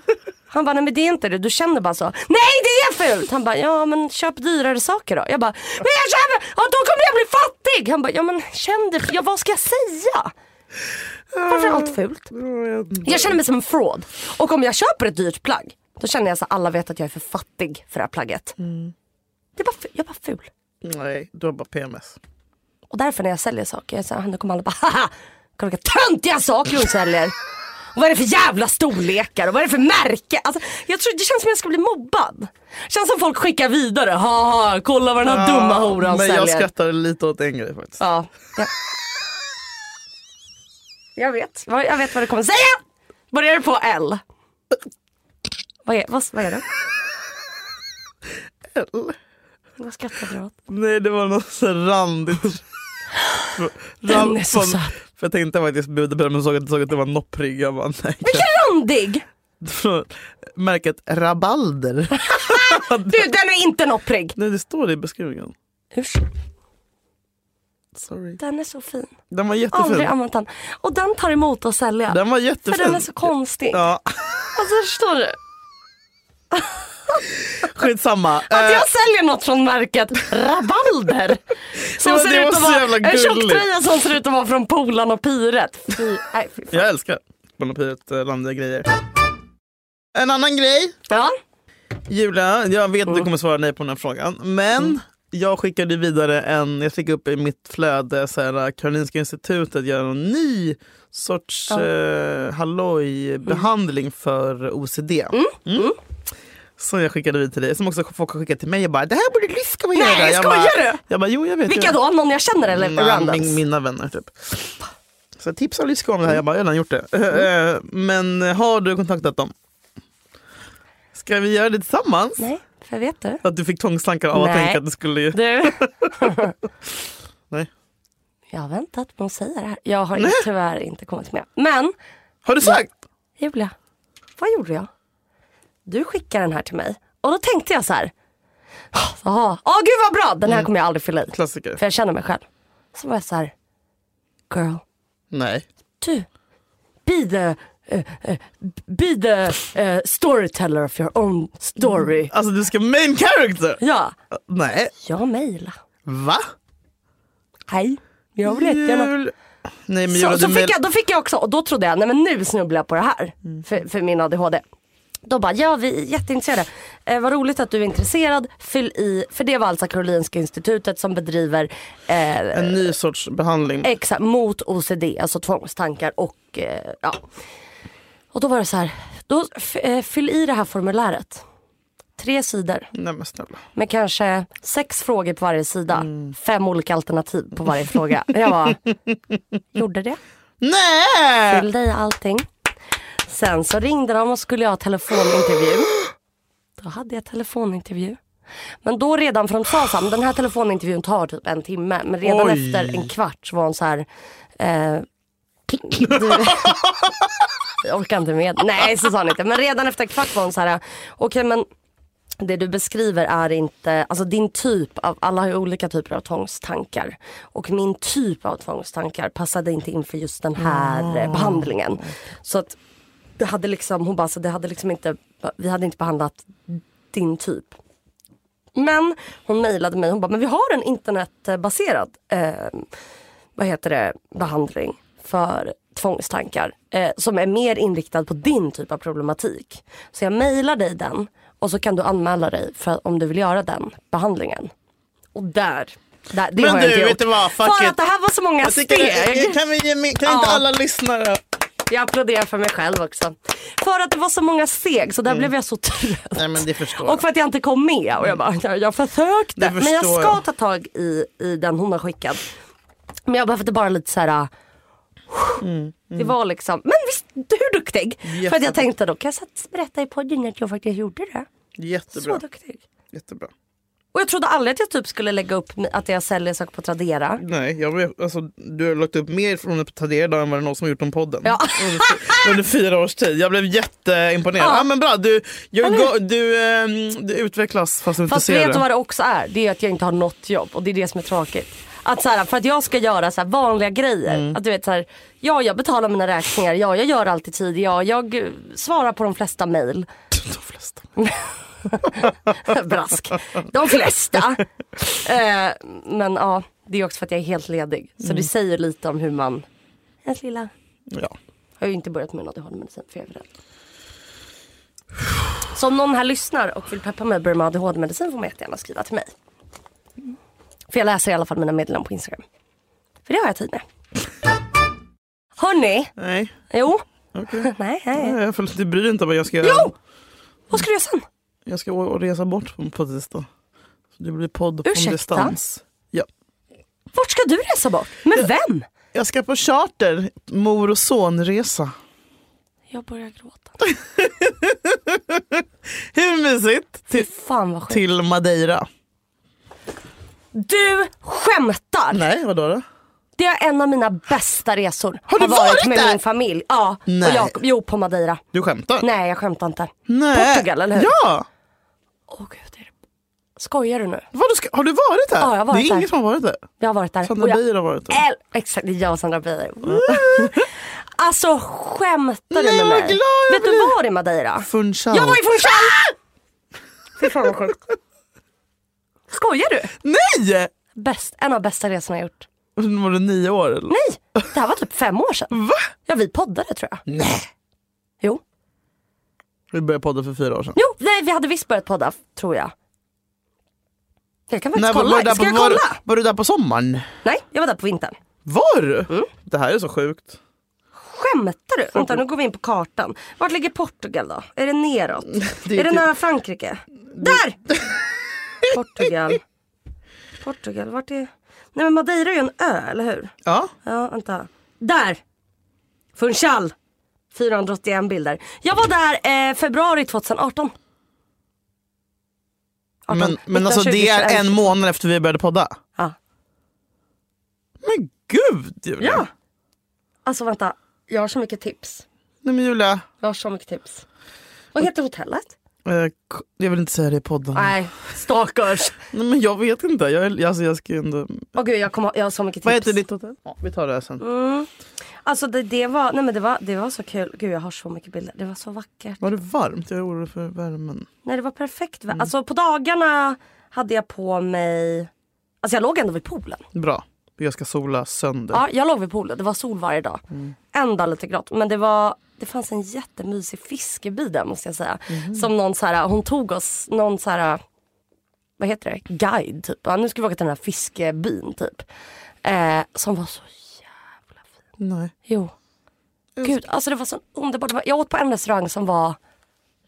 [SPEAKER 3] Han bara, nej men det är inte det, du känner bara så. Nej det är fult! Han bara, ja men köp dyrare saker då. Jag bara, men jag köper, ja, då kommer jag bli fattig! Han bara, ja men känn dig, ja vad ska jag säga? Varför är
[SPEAKER 1] Ah.
[SPEAKER 3] allt fult? Jag känner mig som en fraud. Och om jag köper ett dyrt plagg, då känner jag så att alla vet att jag är för fattig för det här plagget. Det är bara, ful- jag är bara ful.
[SPEAKER 2] Nej, du har bara PMS.
[SPEAKER 3] Och därför när jag säljer saker, jag säger, han kommer alla bara haha, kolla vilka töntiga saker hon säljer. Och vad är det för jävla storlekar och vad är det för märke? Alltså, jag tror, det känns som att jag ska bli mobbad. Det känns som folk skickar vidare, haha kolla vad den här dumma horan
[SPEAKER 2] Ah, men
[SPEAKER 3] säljer.
[SPEAKER 2] jag skrattar lite åt en grej faktiskt.
[SPEAKER 3] Ja. Jag... jag vet, Vad- jag vet vad du kommer säga. Börjar du på L? Vad är, vad, vad är det?
[SPEAKER 2] Eller?
[SPEAKER 3] Vad skrattar du åt?
[SPEAKER 2] Nej, det var något så här randigt.
[SPEAKER 3] Den är så
[SPEAKER 2] Rand-
[SPEAKER 3] söt.
[SPEAKER 2] För jag tänkte faktiskt bjuda på det men såg att, såg att det var en nopprygg. Jag bara nej.
[SPEAKER 3] Randig!
[SPEAKER 2] Från märket Rabalder.
[SPEAKER 3] Du den är inte nopprig.
[SPEAKER 2] Nej, det står det i beskrivningen.
[SPEAKER 3] Usch,
[SPEAKER 2] Sorry.
[SPEAKER 3] den är så fin.
[SPEAKER 2] Den var
[SPEAKER 3] Aldrig
[SPEAKER 2] jättefin.
[SPEAKER 3] använt den. Och den tar emot att sälja.
[SPEAKER 2] Den var jättefin.
[SPEAKER 3] för den är så konstig.
[SPEAKER 2] Ja,
[SPEAKER 3] Alltså förstår du?
[SPEAKER 2] skitsamma.
[SPEAKER 3] Att
[SPEAKER 2] Eh,
[SPEAKER 3] jag säljer något från märket Rabalder. Som
[SPEAKER 2] Ja, det
[SPEAKER 3] ser
[SPEAKER 2] var
[SPEAKER 3] ut att
[SPEAKER 2] så
[SPEAKER 3] vara
[SPEAKER 2] jävla
[SPEAKER 3] en
[SPEAKER 2] gulligt.
[SPEAKER 3] tjocktröja som ser ut att vara från Polan och Piret. Fy, nej, fy fan.
[SPEAKER 2] jag älskar Monopiret eh, randiga grejer. En annan grej.
[SPEAKER 3] Ja.
[SPEAKER 2] Julia, jag vet att du kommer svara nej på den här frågan. Men jag skickade vidare en, jag fick upp i mitt flöde så här, äh, Karolinska institutet gör en ny sorts eh, halloj-behandling för OCD. Mm. Som jag skickade vidare till dig, som också folk har skickat till mig. Jag bara, det här borde du ska vi
[SPEAKER 3] Nej,
[SPEAKER 2] göra. jag
[SPEAKER 3] skojar
[SPEAKER 2] bara,
[SPEAKER 3] du?
[SPEAKER 2] Jag bara, jo jag vet.
[SPEAKER 3] Vilka
[SPEAKER 2] jag-
[SPEAKER 3] då? Någon jag känner eller
[SPEAKER 2] Nej, min,
[SPEAKER 3] randoms?
[SPEAKER 2] mina vänner typ. Så tipsa Lyska om det här. Jag bara, jag har redan gjort det. Eh, Men har du kontaktat dem? Ska vi göra det tillsammans?
[SPEAKER 3] Nej, för vet du?
[SPEAKER 2] Att du fick tvångstankar av att
[SPEAKER 3] Nej.
[SPEAKER 2] tänka att det skulle... ju-
[SPEAKER 3] Du.
[SPEAKER 2] Nej.
[SPEAKER 3] Jag har väntat på att säga det här. Jag har inte- tyvärr inte kommit med. Men
[SPEAKER 2] Har du sagt?
[SPEAKER 3] Julia, vad gjorde jag? Du skickade den här till mig och då tänkte jag så här. Ja, ah, gud vad bra, den här kommer jag aldrig fylla i.
[SPEAKER 2] Klassiker.
[SPEAKER 3] För jag känner mig själv. Så var jag så här. Girl,
[SPEAKER 2] Nej.
[SPEAKER 3] du. Be the, eh, eh, be the eh, storyteller of your own story.
[SPEAKER 2] Alltså du ska main character?
[SPEAKER 3] Ja,
[SPEAKER 2] Nej.
[SPEAKER 3] jag mejla.
[SPEAKER 2] Va?
[SPEAKER 3] Hej, jag vill jättegärna.
[SPEAKER 2] Jul- Nej men Julia,
[SPEAKER 3] Så,
[SPEAKER 2] du
[SPEAKER 3] så fick
[SPEAKER 2] mail-
[SPEAKER 3] jag, då fick jag också, och då trodde jag, nej men nu snubblar jag på det här. För, för min ADHD. Då bara, ja vi är jätteintresserade. Eh, vad roligt att du är intresserad, fyll i, för det var alltså Karolinska institutet som bedriver eh,
[SPEAKER 2] En ny sorts behandling.
[SPEAKER 3] Exakt, mot OCD, alltså tvångstankar och eh, ja. Och då var det så här, då f- eh, fyll i det här formuläret. Tre sidor
[SPEAKER 2] Nej men snälla.
[SPEAKER 3] med kanske sex frågor på varje sida. Fem olika alternativ på varje fråga. Jag bara, gjorde det?
[SPEAKER 2] Nej!
[SPEAKER 3] Fyllde i allting. Sen så ringde de och skulle jag ha telefonintervju. Då hade jag telefonintervju. Men då redan från Sasam, den här telefonintervjun tar typ en timme. Men redan
[SPEAKER 2] Oj.
[SPEAKER 3] efter en kvart så var hon så här. Eh, du, jag orkar inte med. Nej så sa hon inte. Men redan efter en kvart var hon så här. Okej men det du beskriver är inte, alltså din typ av, alla har ju olika typer av tvångstankar. Och min typ av tvångstankar passade inte in för just den här eh, behandlingen. Så att det hade liksom, hon bara, så det hade liksom inte, vi hade inte behandlat din typ. Men hon mejlade mig, hon bara, men vi har en internetbaserad, eh, vad heter det, behandling för tvångstankar. Eh, som är mer inriktad på din typ av problematik. Så jag mejlar dig den och så kan du anmäla dig för om du vill göra den behandlingen. Och där, där det
[SPEAKER 2] Men
[SPEAKER 3] har jag
[SPEAKER 2] du,
[SPEAKER 3] inte
[SPEAKER 2] vet
[SPEAKER 3] gjort.
[SPEAKER 2] du vad? Fuck
[SPEAKER 3] för
[SPEAKER 2] it.
[SPEAKER 3] att det här var så många
[SPEAKER 2] Jag tycker,
[SPEAKER 3] steg.
[SPEAKER 2] kan vi ge, min- kan
[SPEAKER 3] Ja.
[SPEAKER 2] inte alla lyssnare...
[SPEAKER 3] Jag applåderar för mig själv också. För att det var så många steg så där
[SPEAKER 2] Mm.
[SPEAKER 3] blev jag så trött.
[SPEAKER 2] Nej men det förstår jag.
[SPEAKER 3] Och för att jag inte kom med. Och jag bara, jag, jag försökte.
[SPEAKER 2] Det
[SPEAKER 3] men jag
[SPEAKER 2] förstår
[SPEAKER 3] ska
[SPEAKER 2] jag.
[SPEAKER 3] ta tag i, i den hon har skickat. Men jag behövde bara lite så här. ah,
[SPEAKER 2] Mm,
[SPEAKER 3] Det var liksom, men visst, hur duktig? För att jag tänkte då, kan jag satt- berätta i podden att jag faktiskt gjorde det? Så
[SPEAKER 2] Jättebra.
[SPEAKER 3] duktig.
[SPEAKER 2] Jättebra.
[SPEAKER 3] Och jag trodde aldrig att jag typ skulle lägga upp mi- att jag säljer saker på Tradera.
[SPEAKER 2] Nej, jag, vet- alltså, du har lagt upp mer från att Tradera idag än vad det är någon som har gjort om podden.
[SPEAKER 3] Ja.
[SPEAKER 2] Under, fy- under fyra års tid. Jag blev jätteimponerad. Ja. men bra, du, you're go, du, ehm, du utvecklas fast du inte
[SPEAKER 3] Fast
[SPEAKER 2] ser
[SPEAKER 3] vet
[SPEAKER 2] det.
[SPEAKER 3] du vad det också är? Det är att jag inte har något jobb och det är det som är tråkigt. Att så här, för att jag ska göra så här vanliga grejer.
[SPEAKER 2] Mm.
[SPEAKER 3] Att du vet så här, ja jag betalar mina räkningar, ja jag gör allt i tid, ja jag eh, svarar på de flesta mejl.
[SPEAKER 2] De flesta.
[SPEAKER 3] Brask. De flesta. eh, men ja, det är också för att jag är helt ledig. Så
[SPEAKER 2] Mm.
[SPEAKER 3] det säger lite om hur man... Ens lilla.
[SPEAKER 2] Ja.
[SPEAKER 3] Jag har ju inte börjat med någon ADHD-medicin för jag är rädd. Så om någon här lyssnar och vill peppa mig att börja med ADHD-medicin får man jättegärna skriva till mig. För jag läser i alla fall mina meddelanden på Instagram. För det har jag tid med. Hörni,
[SPEAKER 2] Nej,
[SPEAKER 3] jo.
[SPEAKER 2] okej.
[SPEAKER 3] Nej, nej.
[SPEAKER 2] Nej, jag får- Du bryr dig inte vad jag ska
[SPEAKER 3] Jo! Vad ska du göra sen?
[SPEAKER 2] Jag ska å- å- resa bort på, på tisdag. Så det blir podd på
[SPEAKER 3] Ursäkta?
[SPEAKER 2] distans. Ja.
[SPEAKER 3] Vart ska du resa bort? Med vem?
[SPEAKER 2] Jag ska på charter, mor och sonresa.
[SPEAKER 3] Jag börjar gråta.
[SPEAKER 2] Hur mysigt? Till,
[SPEAKER 3] Fan vad sjukt.
[SPEAKER 2] till Madeira.
[SPEAKER 3] Du skämtar!
[SPEAKER 2] Nej, vadå då?
[SPEAKER 3] Det är en av mina bästa resor.
[SPEAKER 2] Har du varit
[SPEAKER 3] med
[SPEAKER 2] där?
[SPEAKER 3] min familj. Ja,
[SPEAKER 2] Nej.
[SPEAKER 3] och Jakob. Jo, på Madeira.
[SPEAKER 2] Du skämtar?
[SPEAKER 3] Nej, jag skämtar inte.
[SPEAKER 2] Nej.
[SPEAKER 3] Portugal, eller hur?
[SPEAKER 2] Ja!
[SPEAKER 3] Åh gud, är det... Skojar du nu?
[SPEAKER 2] Vadå, ska, har du varit här?
[SPEAKER 3] Ja, jag har varit
[SPEAKER 2] det är
[SPEAKER 3] här.
[SPEAKER 2] ingen som har varit där.
[SPEAKER 3] Jag har varit där.
[SPEAKER 2] Sandra
[SPEAKER 3] och jag
[SPEAKER 2] Beijer har varit där.
[SPEAKER 3] äl- Exakt, det är jag och Sandra Beijer. alltså skämtar du
[SPEAKER 2] Nej,
[SPEAKER 3] med
[SPEAKER 2] vad
[SPEAKER 3] mig?
[SPEAKER 2] glad jag
[SPEAKER 3] Vet du
[SPEAKER 2] blir.
[SPEAKER 3] var i Madeira?
[SPEAKER 2] Funchal.
[SPEAKER 3] Jag var i Funchal! Fy fan vad sjukt. Skojar du?
[SPEAKER 2] Nej!
[SPEAKER 3] Bäst, en av bästa resorna jag gjort.
[SPEAKER 2] Var du nio år eller?
[SPEAKER 3] Nej, det här var typ fem år sedan.
[SPEAKER 2] Va?
[SPEAKER 3] Ja, vi poddade tror jag.
[SPEAKER 2] Nej.
[SPEAKER 3] Jo.
[SPEAKER 2] Vi började podda för fyra år sedan.
[SPEAKER 3] Jo, nej, vi hade visst börjat podda, tror jag. Jag kan faktiskt
[SPEAKER 2] Nej, var-
[SPEAKER 3] kolla.
[SPEAKER 2] var du där
[SPEAKER 3] Ska
[SPEAKER 2] på-
[SPEAKER 3] jag
[SPEAKER 2] var,
[SPEAKER 3] kolla?
[SPEAKER 2] Var du där på sommaren?
[SPEAKER 3] Nej, jag var där på vintern.
[SPEAKER 2] Var du?
[SPEAKER 3] Mm.
[SPEAKER 2] Det här är så sjukt.
[SPEAKER 3] Skämtar du? Vänta, nu går vi in på kartan. Vart ligger Portugal då? Är det neråt?
[SPEAKER 2] Det är
[SPEAKER 3] är det
[SPEAKER 2] typ-
[SPEAKER 3] nära Frankrike? Där! Portugal. Portugal, vart är... Nej men Madeira är ju en ö, eller hur?
[SPEAKER 2] Ja.
[SPEAKER 3] Ja, vänta. Där! Funchal! 481 bilder. Jag var där eh, februari 2018. 18,
[SPEAKER 2] Men,
[SPEAKER 3] 19,
[SPEAKER 2] men alltså
[SPEAKER 3] 20,
[SPEAKER 2] det är
[SPEAKER 3] 21.
[SPEAKER 2] en månad efter vi började podda.
[SPEAKER 3] Ja.
[SPEAKER 2] Men gud Julia.
[SPEAKER 3] Ja. Alltså vänta, jag har så mycket tips.
[SPEAKER 2] Nej men Julia,
[SPEAKER 3] Jag har så mycket tips. Vad heter hotellet?
[SPEAKER 2] eh, k- jag vill inte säga det i podden.
[SPEAKER 3] Nej, stalkers.
[SPEAKER 2] Nej men jag vet inte. Jag, är- alltså, jag ska ju ändå...
[SPEAKER 3] Åh gud, jag, kommer jag har så mycket tips.
[SPEAKER 2] Vad heter ditt hotell? Ja, vi tar det här sen.
[SPEAKER 3] Alltså det, det, var, nej men det, var, det var så kul. Gud jag har så mycket bilder. Det var så vackert.
[SPEAKER 2] Var det varmt? Jag är orolig för värmen.
[SPEAKER 3] Nej det var perfekt.
[SPEAKER 2] Mm.
[SPEAKER 3] vä- Alltså på dagarna hade jag på mig, alltså jag låg ändå vid poolen.
[SPEAKER 2] Bra. Jag ska sola sönder.
[SPEAKER 3] Ja jag låg vid poolen, det var sol varje dag.
[SPEAKER 2] Mm.
[SPEAKER 3] En dag lite grått. Men det var, det fanns en jättemysig fiskeby där måste jag säga.
[SPEAKER 2] Mm.
[SPEAKER 3] Som någon så här, hon tog oss, någon så här, vad heter det, guide typ. Ja, nu ska vi åka till den här fiskebyn typ. Eh, som var så
[SPEAKER 2] Nej.
[SPEAKER 3] Jo. Gud, alltså det var så underbart. Det var- Jag åt på en restaurang som var...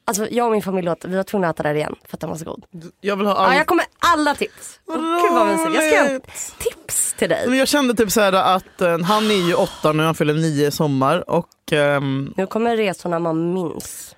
[SPEAKER 3] Alltså jag och min familj åt, vi var tvungna att äta där igen för att den var så god.
[SPEAKER 2] Jag vill ha allt.
[SPEAKER 3] Ja, jag kommer alla tips. Åh, Gud vad mysigt. Jag ska göra
[SPEAKER 2] roligt.
[SPEAKER 3] tips till
[SPEAKER 2] Men
[SPEAKER 3] dig.
[SPEAKER 2] jag kände typ så här att eh, han är ju åtta nu, han fyller nio i sommar. Och ehm,
[SPEAKER 3] Nu kommer resorna man minns.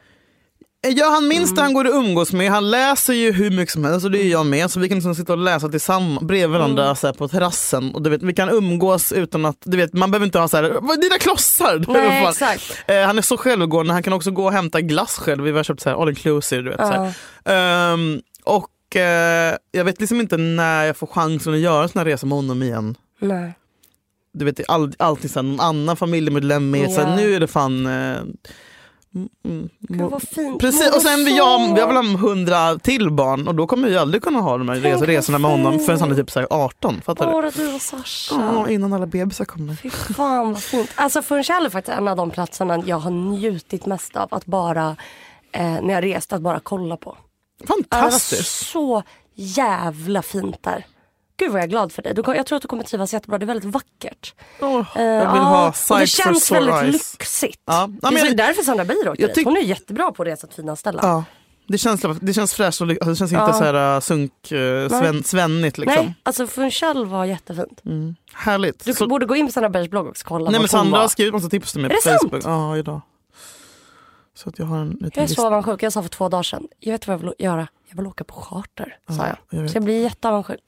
[SPEAKER 2] ja, han
[SPEAKER 3] Mm.
[SPEAKER 2] minns det han går att umgås med. Han läser ju hur mycket som helst och det är jag med. Så vi kan liksom sitta och läsa tillsammans bredvid varandra
[SPEAKER 3] Mm.
[SPEAKER 2] så här, på terrassen. Och du vet, vi kan umgås utan att, du vet, man behöver inte ha så här, "Vad är dina klossar. Du vet,
[SPEAKER 3] Nej,
[SPEAKER 2] fan.
[SPEAKER 3] exakt.
[SPEAKER 2] Eh, han är så självgående, han kan också gå och hämta glass själv. Vi har köpt så här all inclusive. Du vet, så här. Ehm, och eh, jag vet liksom inte när jag får chansen att göra såna här resor med honom igen.
[SPEAKER 3] Nej.
[SPEAKER 2] du vet, det är all, alltid så här, någon annan familjemedlem med. Så här,
[SPEAKER 3] Ja.
[SPEAKER 2] nu är det fan eh,
[SPEAKER 3] Gud vad fint.
[SPEAKER 2] Precis,
[SPEAKER 3] Mor
[SPEAKER 2] och sen vill
[SPEAKER 3] son.
[SPEAKER 2] jag, jag vill ha hundra till barn och då kommer vi aldrig kunna ha de här
[SPEAKER 3] Tänk
[SPEAKER 2] res-
[SPEAKER 3] vad
[SPEAKER 2] resorna med honom
[SPEAKER 3] fint.
[SPEAKER 2] förrän han är typ så här 18. Fattar du?
[SPEAKER 3] Bara du och Sasha.
[SPEAKER 2] Ja, innan alla bebisar kommer.
[SPEAKER 3] Fy fan vad fint. Alltså Funchal är faktiskt en av de platserna jag har njutit mest av att bara, eh, när jag rest, att bara kolla på. Det var
[SPEAKER 2] Fantastiskt.
[SPEAKER 3] så jävla fint där. Gud vad jag är glad för dig. Du, kom- jag tror att du kommer trivas jättebra. Det är väldigt vackert.
[SPEAKER 2] Åh,
[SPEAKER 3] Eh,
[SPEAKER 2] jag vill
[SPEAKER 3] ja,
[SPEAKER 2] ha
[SPEAKER 3] och
[SPEAKER 2] sight
[SPEAKER 3] Det
[SPEAKER 2] for
[SPEAKER 3] känns
[SPEAKER 2] sore
[SPEAKER 3] väldigt
[SPEAKER 2] eyes.
[SPEAKER 3] lyxigt.
[SPEAKER 2] Ja, ja,
[SPEAKER 3] det
[SPEAKER 2] men
[SPEAKER 3] är så
[SPEAKER 2] jag-
[SPEAKER 3] därför Sandra Beijer åkte
[SPEAKER 2] jag
[SPEAKER 3] dit.
[SPEAKER 2] tyck-
[SPEAKER 3] Hon är jättebra på att resa till fina ställen.
[SPEAKER 2] Ja. Det känns, det känns fräscht och ly- alltså, det känns inte
[SPEAKER 3] Ja.
[SPEAKER 2] så här äh, sunk, äh, sven, svennigt liksom.
[SPEAKER 3] Nej, alltså Funchal var jättefint.
[SPEAKER 2] Härligt.
[SPEAKER 3] Du
[SPEAKER 2] Så-
[SPEAKER 3] borde gå in på Sandra Beijers blogg också och kolla
[SPEAKER 2] Nej
[SPEAKER 3] vart
[SPEAKER 2] men
[SPEAKER 3] hon
[SPEAKER 2] Sandra
[SPEAKER 3] var.
[SPEAKER 2] har skrivit massa tips till mig
[SPEAKER 3] Är
[SPEAKER 2] på
[SPEAKER 3] det
[SPEAKER 2] Facebook. Ja, idag. Så att jag har en liten
[SPEAKER 3] Jag är så
[SPEAKER 2] lista.
[SPEAKER 3] avundsjuk. Jag sa för två dagar sedan, jag vet vad jag vill göra. Jag vill åka på charter, sa jag.
[SPEAKER 2] jag vet.
[SPEAKER 3] så jag blir jätteavundsjuk.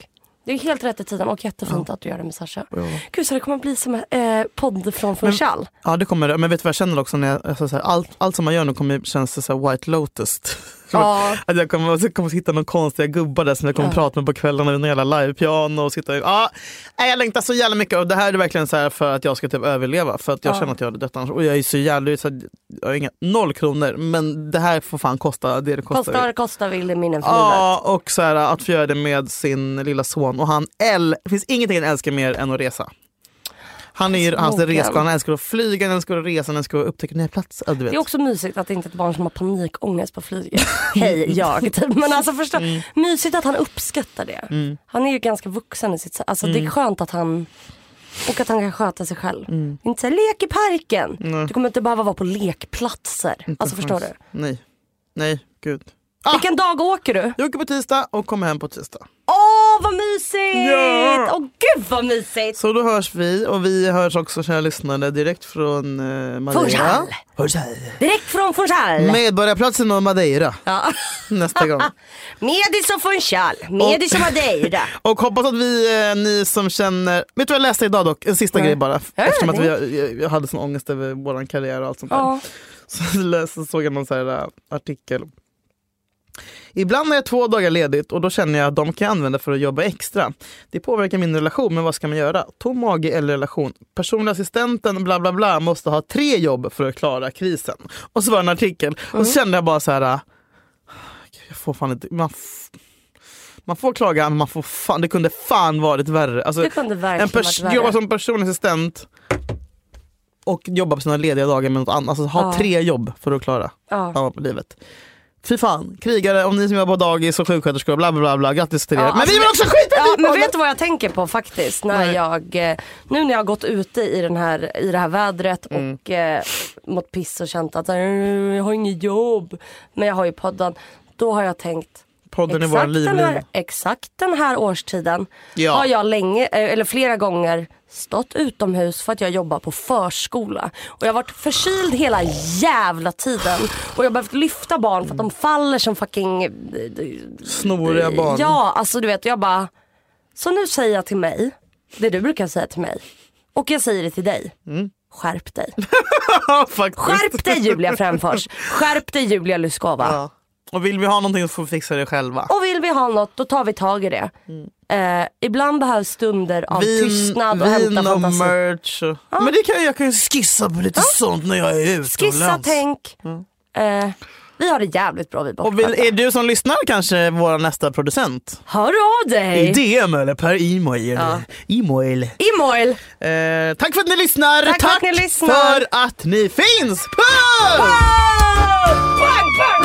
[SPEAKER 3] Det är helt rätt i tiden och jättefint att du gör det med Sasha. Gud, så det kommer bli som en eh, podd från Funchal.
[SPEAKER 2] Ja det kommer det. Men vet du vad jag känner också? När jag, alltså, så här, allt, allt som man gör nu kommer känns det så här white lotus.
[SPEAKER 3] Ja.
[SPEAKER 2] att jag kommer, så kommer hitta någon konstiga gubbar där som jag kommer prata med på kvällarna under hela livepiano. Och sitta, ja, nej, jag längtar så jävla mycket och det här är verkligen så här för att jag ska typ överleva. För att jag känner att jag hade dött annars. Och jag är så jävla... Så här, jag har inga, noll kronor men det här får fan kosta det det kostar.
[SPEAKER 3] Kostar, kostar vill i minnen för livet.
[SPEAKER 2] Ja, och så här, att få göra det med sin lilla son. Och han äl- Det finns ingenting han älskar mer än att resa. Han är ju hans
[SPEAKER 3] Smoken.
[SPEAKER 2] resgång. Han älskar att flyga, han älskar att resa, han älskar att upptäcka nya platser. Ja, Du vet.
[SPEAKER 3] Det är också mysigt att det inte är ett barn som har panikångest på flyget. Hej, jag. typ. Men alltså förstå, mysigt att han uppskattar det. Han är ju ganska vuxen i sitt sätt. Alltså det är skönt att han och att han kan sköta sig själv. Inte så här, lek i parken. Du kommer inte behöva vara på lekplatser. alltså förstår du?
[SPEAKER 2] Nej, nej, gud.
[SPEAKER 3] Vilken dag åker du?
[SPEAKER 2] Jag åker på tisdag och kommer hem på tisdag.
[SPEAKER 3] Åh vad mysigt!
[SPEAKER 2] Ja.
[SPEAKER 3] Åh gud vad mysigt!
[SPEAKER 2] Så då hörs vi och vi hörs också kära lyssnare direkt från eh, Madeira.
[SPEAKER 3] Funchal. Direkt från Funchal.
[SPEAKER 2] Medborgarplatsen och Madeira. Nästa gång.
[SPEAKER 3] Medis och Funchal. Medis och Madeira.
[SPEAKER 2] Och hoppas att vi, eh, ni som känner... Vet du vad jag läste idag dock? En sista grej bara. Eftersom att vi, eh, jag, jag hade sån ångest över vår karriär och allt sånt där.
[SPEAKER 3] Ja.
[SPEAKER 2] Så läste, såg jag någon så här eh, artikel. Ibland har jag två dagar ledigt och då känner jag att de kan jag använda för att jobba extra. Det påverkar min relation, men vad ska man göra? Tom mage eller relation? Personliga assistenten bla bla bla måste ha tre jobb för att klara krisen. Och så var det en artikel och så kände jag bara så här. eh, Gud, Jag får fan inte... Man, f- man får klaga, men man får fan, det kunde fan varit värre. Alltså,
[SPEAKER 3] Det kunde
[SPEAKER 2] en
[SPEAKER 3] verkligen varit
[SPEAKER 2] pers-
[SPEAKER 3] värre.
[SPEAKER 2] jobba som personlig assistent och jobba på sina lediga dagar med något annat. Alltså ha tre jobb för att klara
[SPEAKER 3] Ja.
[SPEAKER 2] ja. livet. Fy fan, krigare, om ni som jobbar på dagis och sjuksköterskor, bla bla bla, bla grattis till er.
[SPEAKER 3] Ja,
[SPEAKER 2] men
[SPEAKER 3] alltså,
[SPEAKER 2] vi vill också skita i
[SPEAKER 3] Ja, men
[SPEAKER 2] podden!
[SPEAKER 3] vet du vad jag tänker på faktiskt? När
[SPEAKER 2] Nej.
[SPEAKER 3] jag, eh, nu när jag har gått ute i, den här, i det här vädret
[SPEAKER 2] Mm.
[SPEAKER 3] och eh, mått piss och känt att eh, jag har inget jobb, men jag har ju podden. Då har jag tänkt,
[SPEAKER 2] Podden är vår
[SPEAKER 3] exakt den, här,
[SPEAKER 2] livlina.
[SPEAKER 3] exakt den här årstiden
[SPEAKER 2] Ja.
[SPEAKER 3] har jag länge, eh, eller flera gånger stått utomhus för att jag jobbar på förskola. Och jag har varit förkyld hela jävla tiden. Och jag har behövt lyfta barn för att
[SPEAKER 2] Mm.
[SPEAKER 3] de faller som fucking eh,
[SPEAKER 2] Snoriga barn.
[SPEAKER 3] Ja, alltså du vet jag bara. Så nu säger jag till mig, det du brukar säga till mig. Och jag säger det till dig.
[SPEAKER 2] Mm.
[SPEAKER 3] Skärp dig.
[SPEAKER 2] Faktiskt.
[SPEAKER 3] Skärp dig Julia Fränfors. Skärp dig Julia Lyskova.
[SPEAKER 2] Ja. Och vill vi ha någonting så får vi fixa det själva.
[SPEAKER 3] Och vill vi ha något då tar vi tag i det. Eh, ibland behövs stunder av tystnad och
[SPEAKER 2] Mm. vin
[SPEAKER 3] hämta
[SPEAKER 2] och
[SPEAKER 3] fantasi.
[SPEAKER 2] merch. och- Men det kan, jag- jag kan ju skissa på lite sånt när jag är utomlands.
[SPEAKER 3] Skissa, tänk. Eh, vi har det jävligt bra vi
[SPEAKER 2] Mm. Och vill,
[SPEAKER 3] bortskämda.
[SPEAKER 2] är du som lyssnar kanske vår nästa producent?
[SPEAKER 3] Hör av dig!
[SPEAKER 2] I DM eller per e-mail. E-mail.
[SPEAKER 3] Imoil!
[SPEAKER 2] Eh, tack för att ni lyssnar!
[SPEAKER 3] Tack för att ni lyssnar.
[SPEAKER 2] för att ni finns! Puss!
[SPEAKER 3] Bang, bang!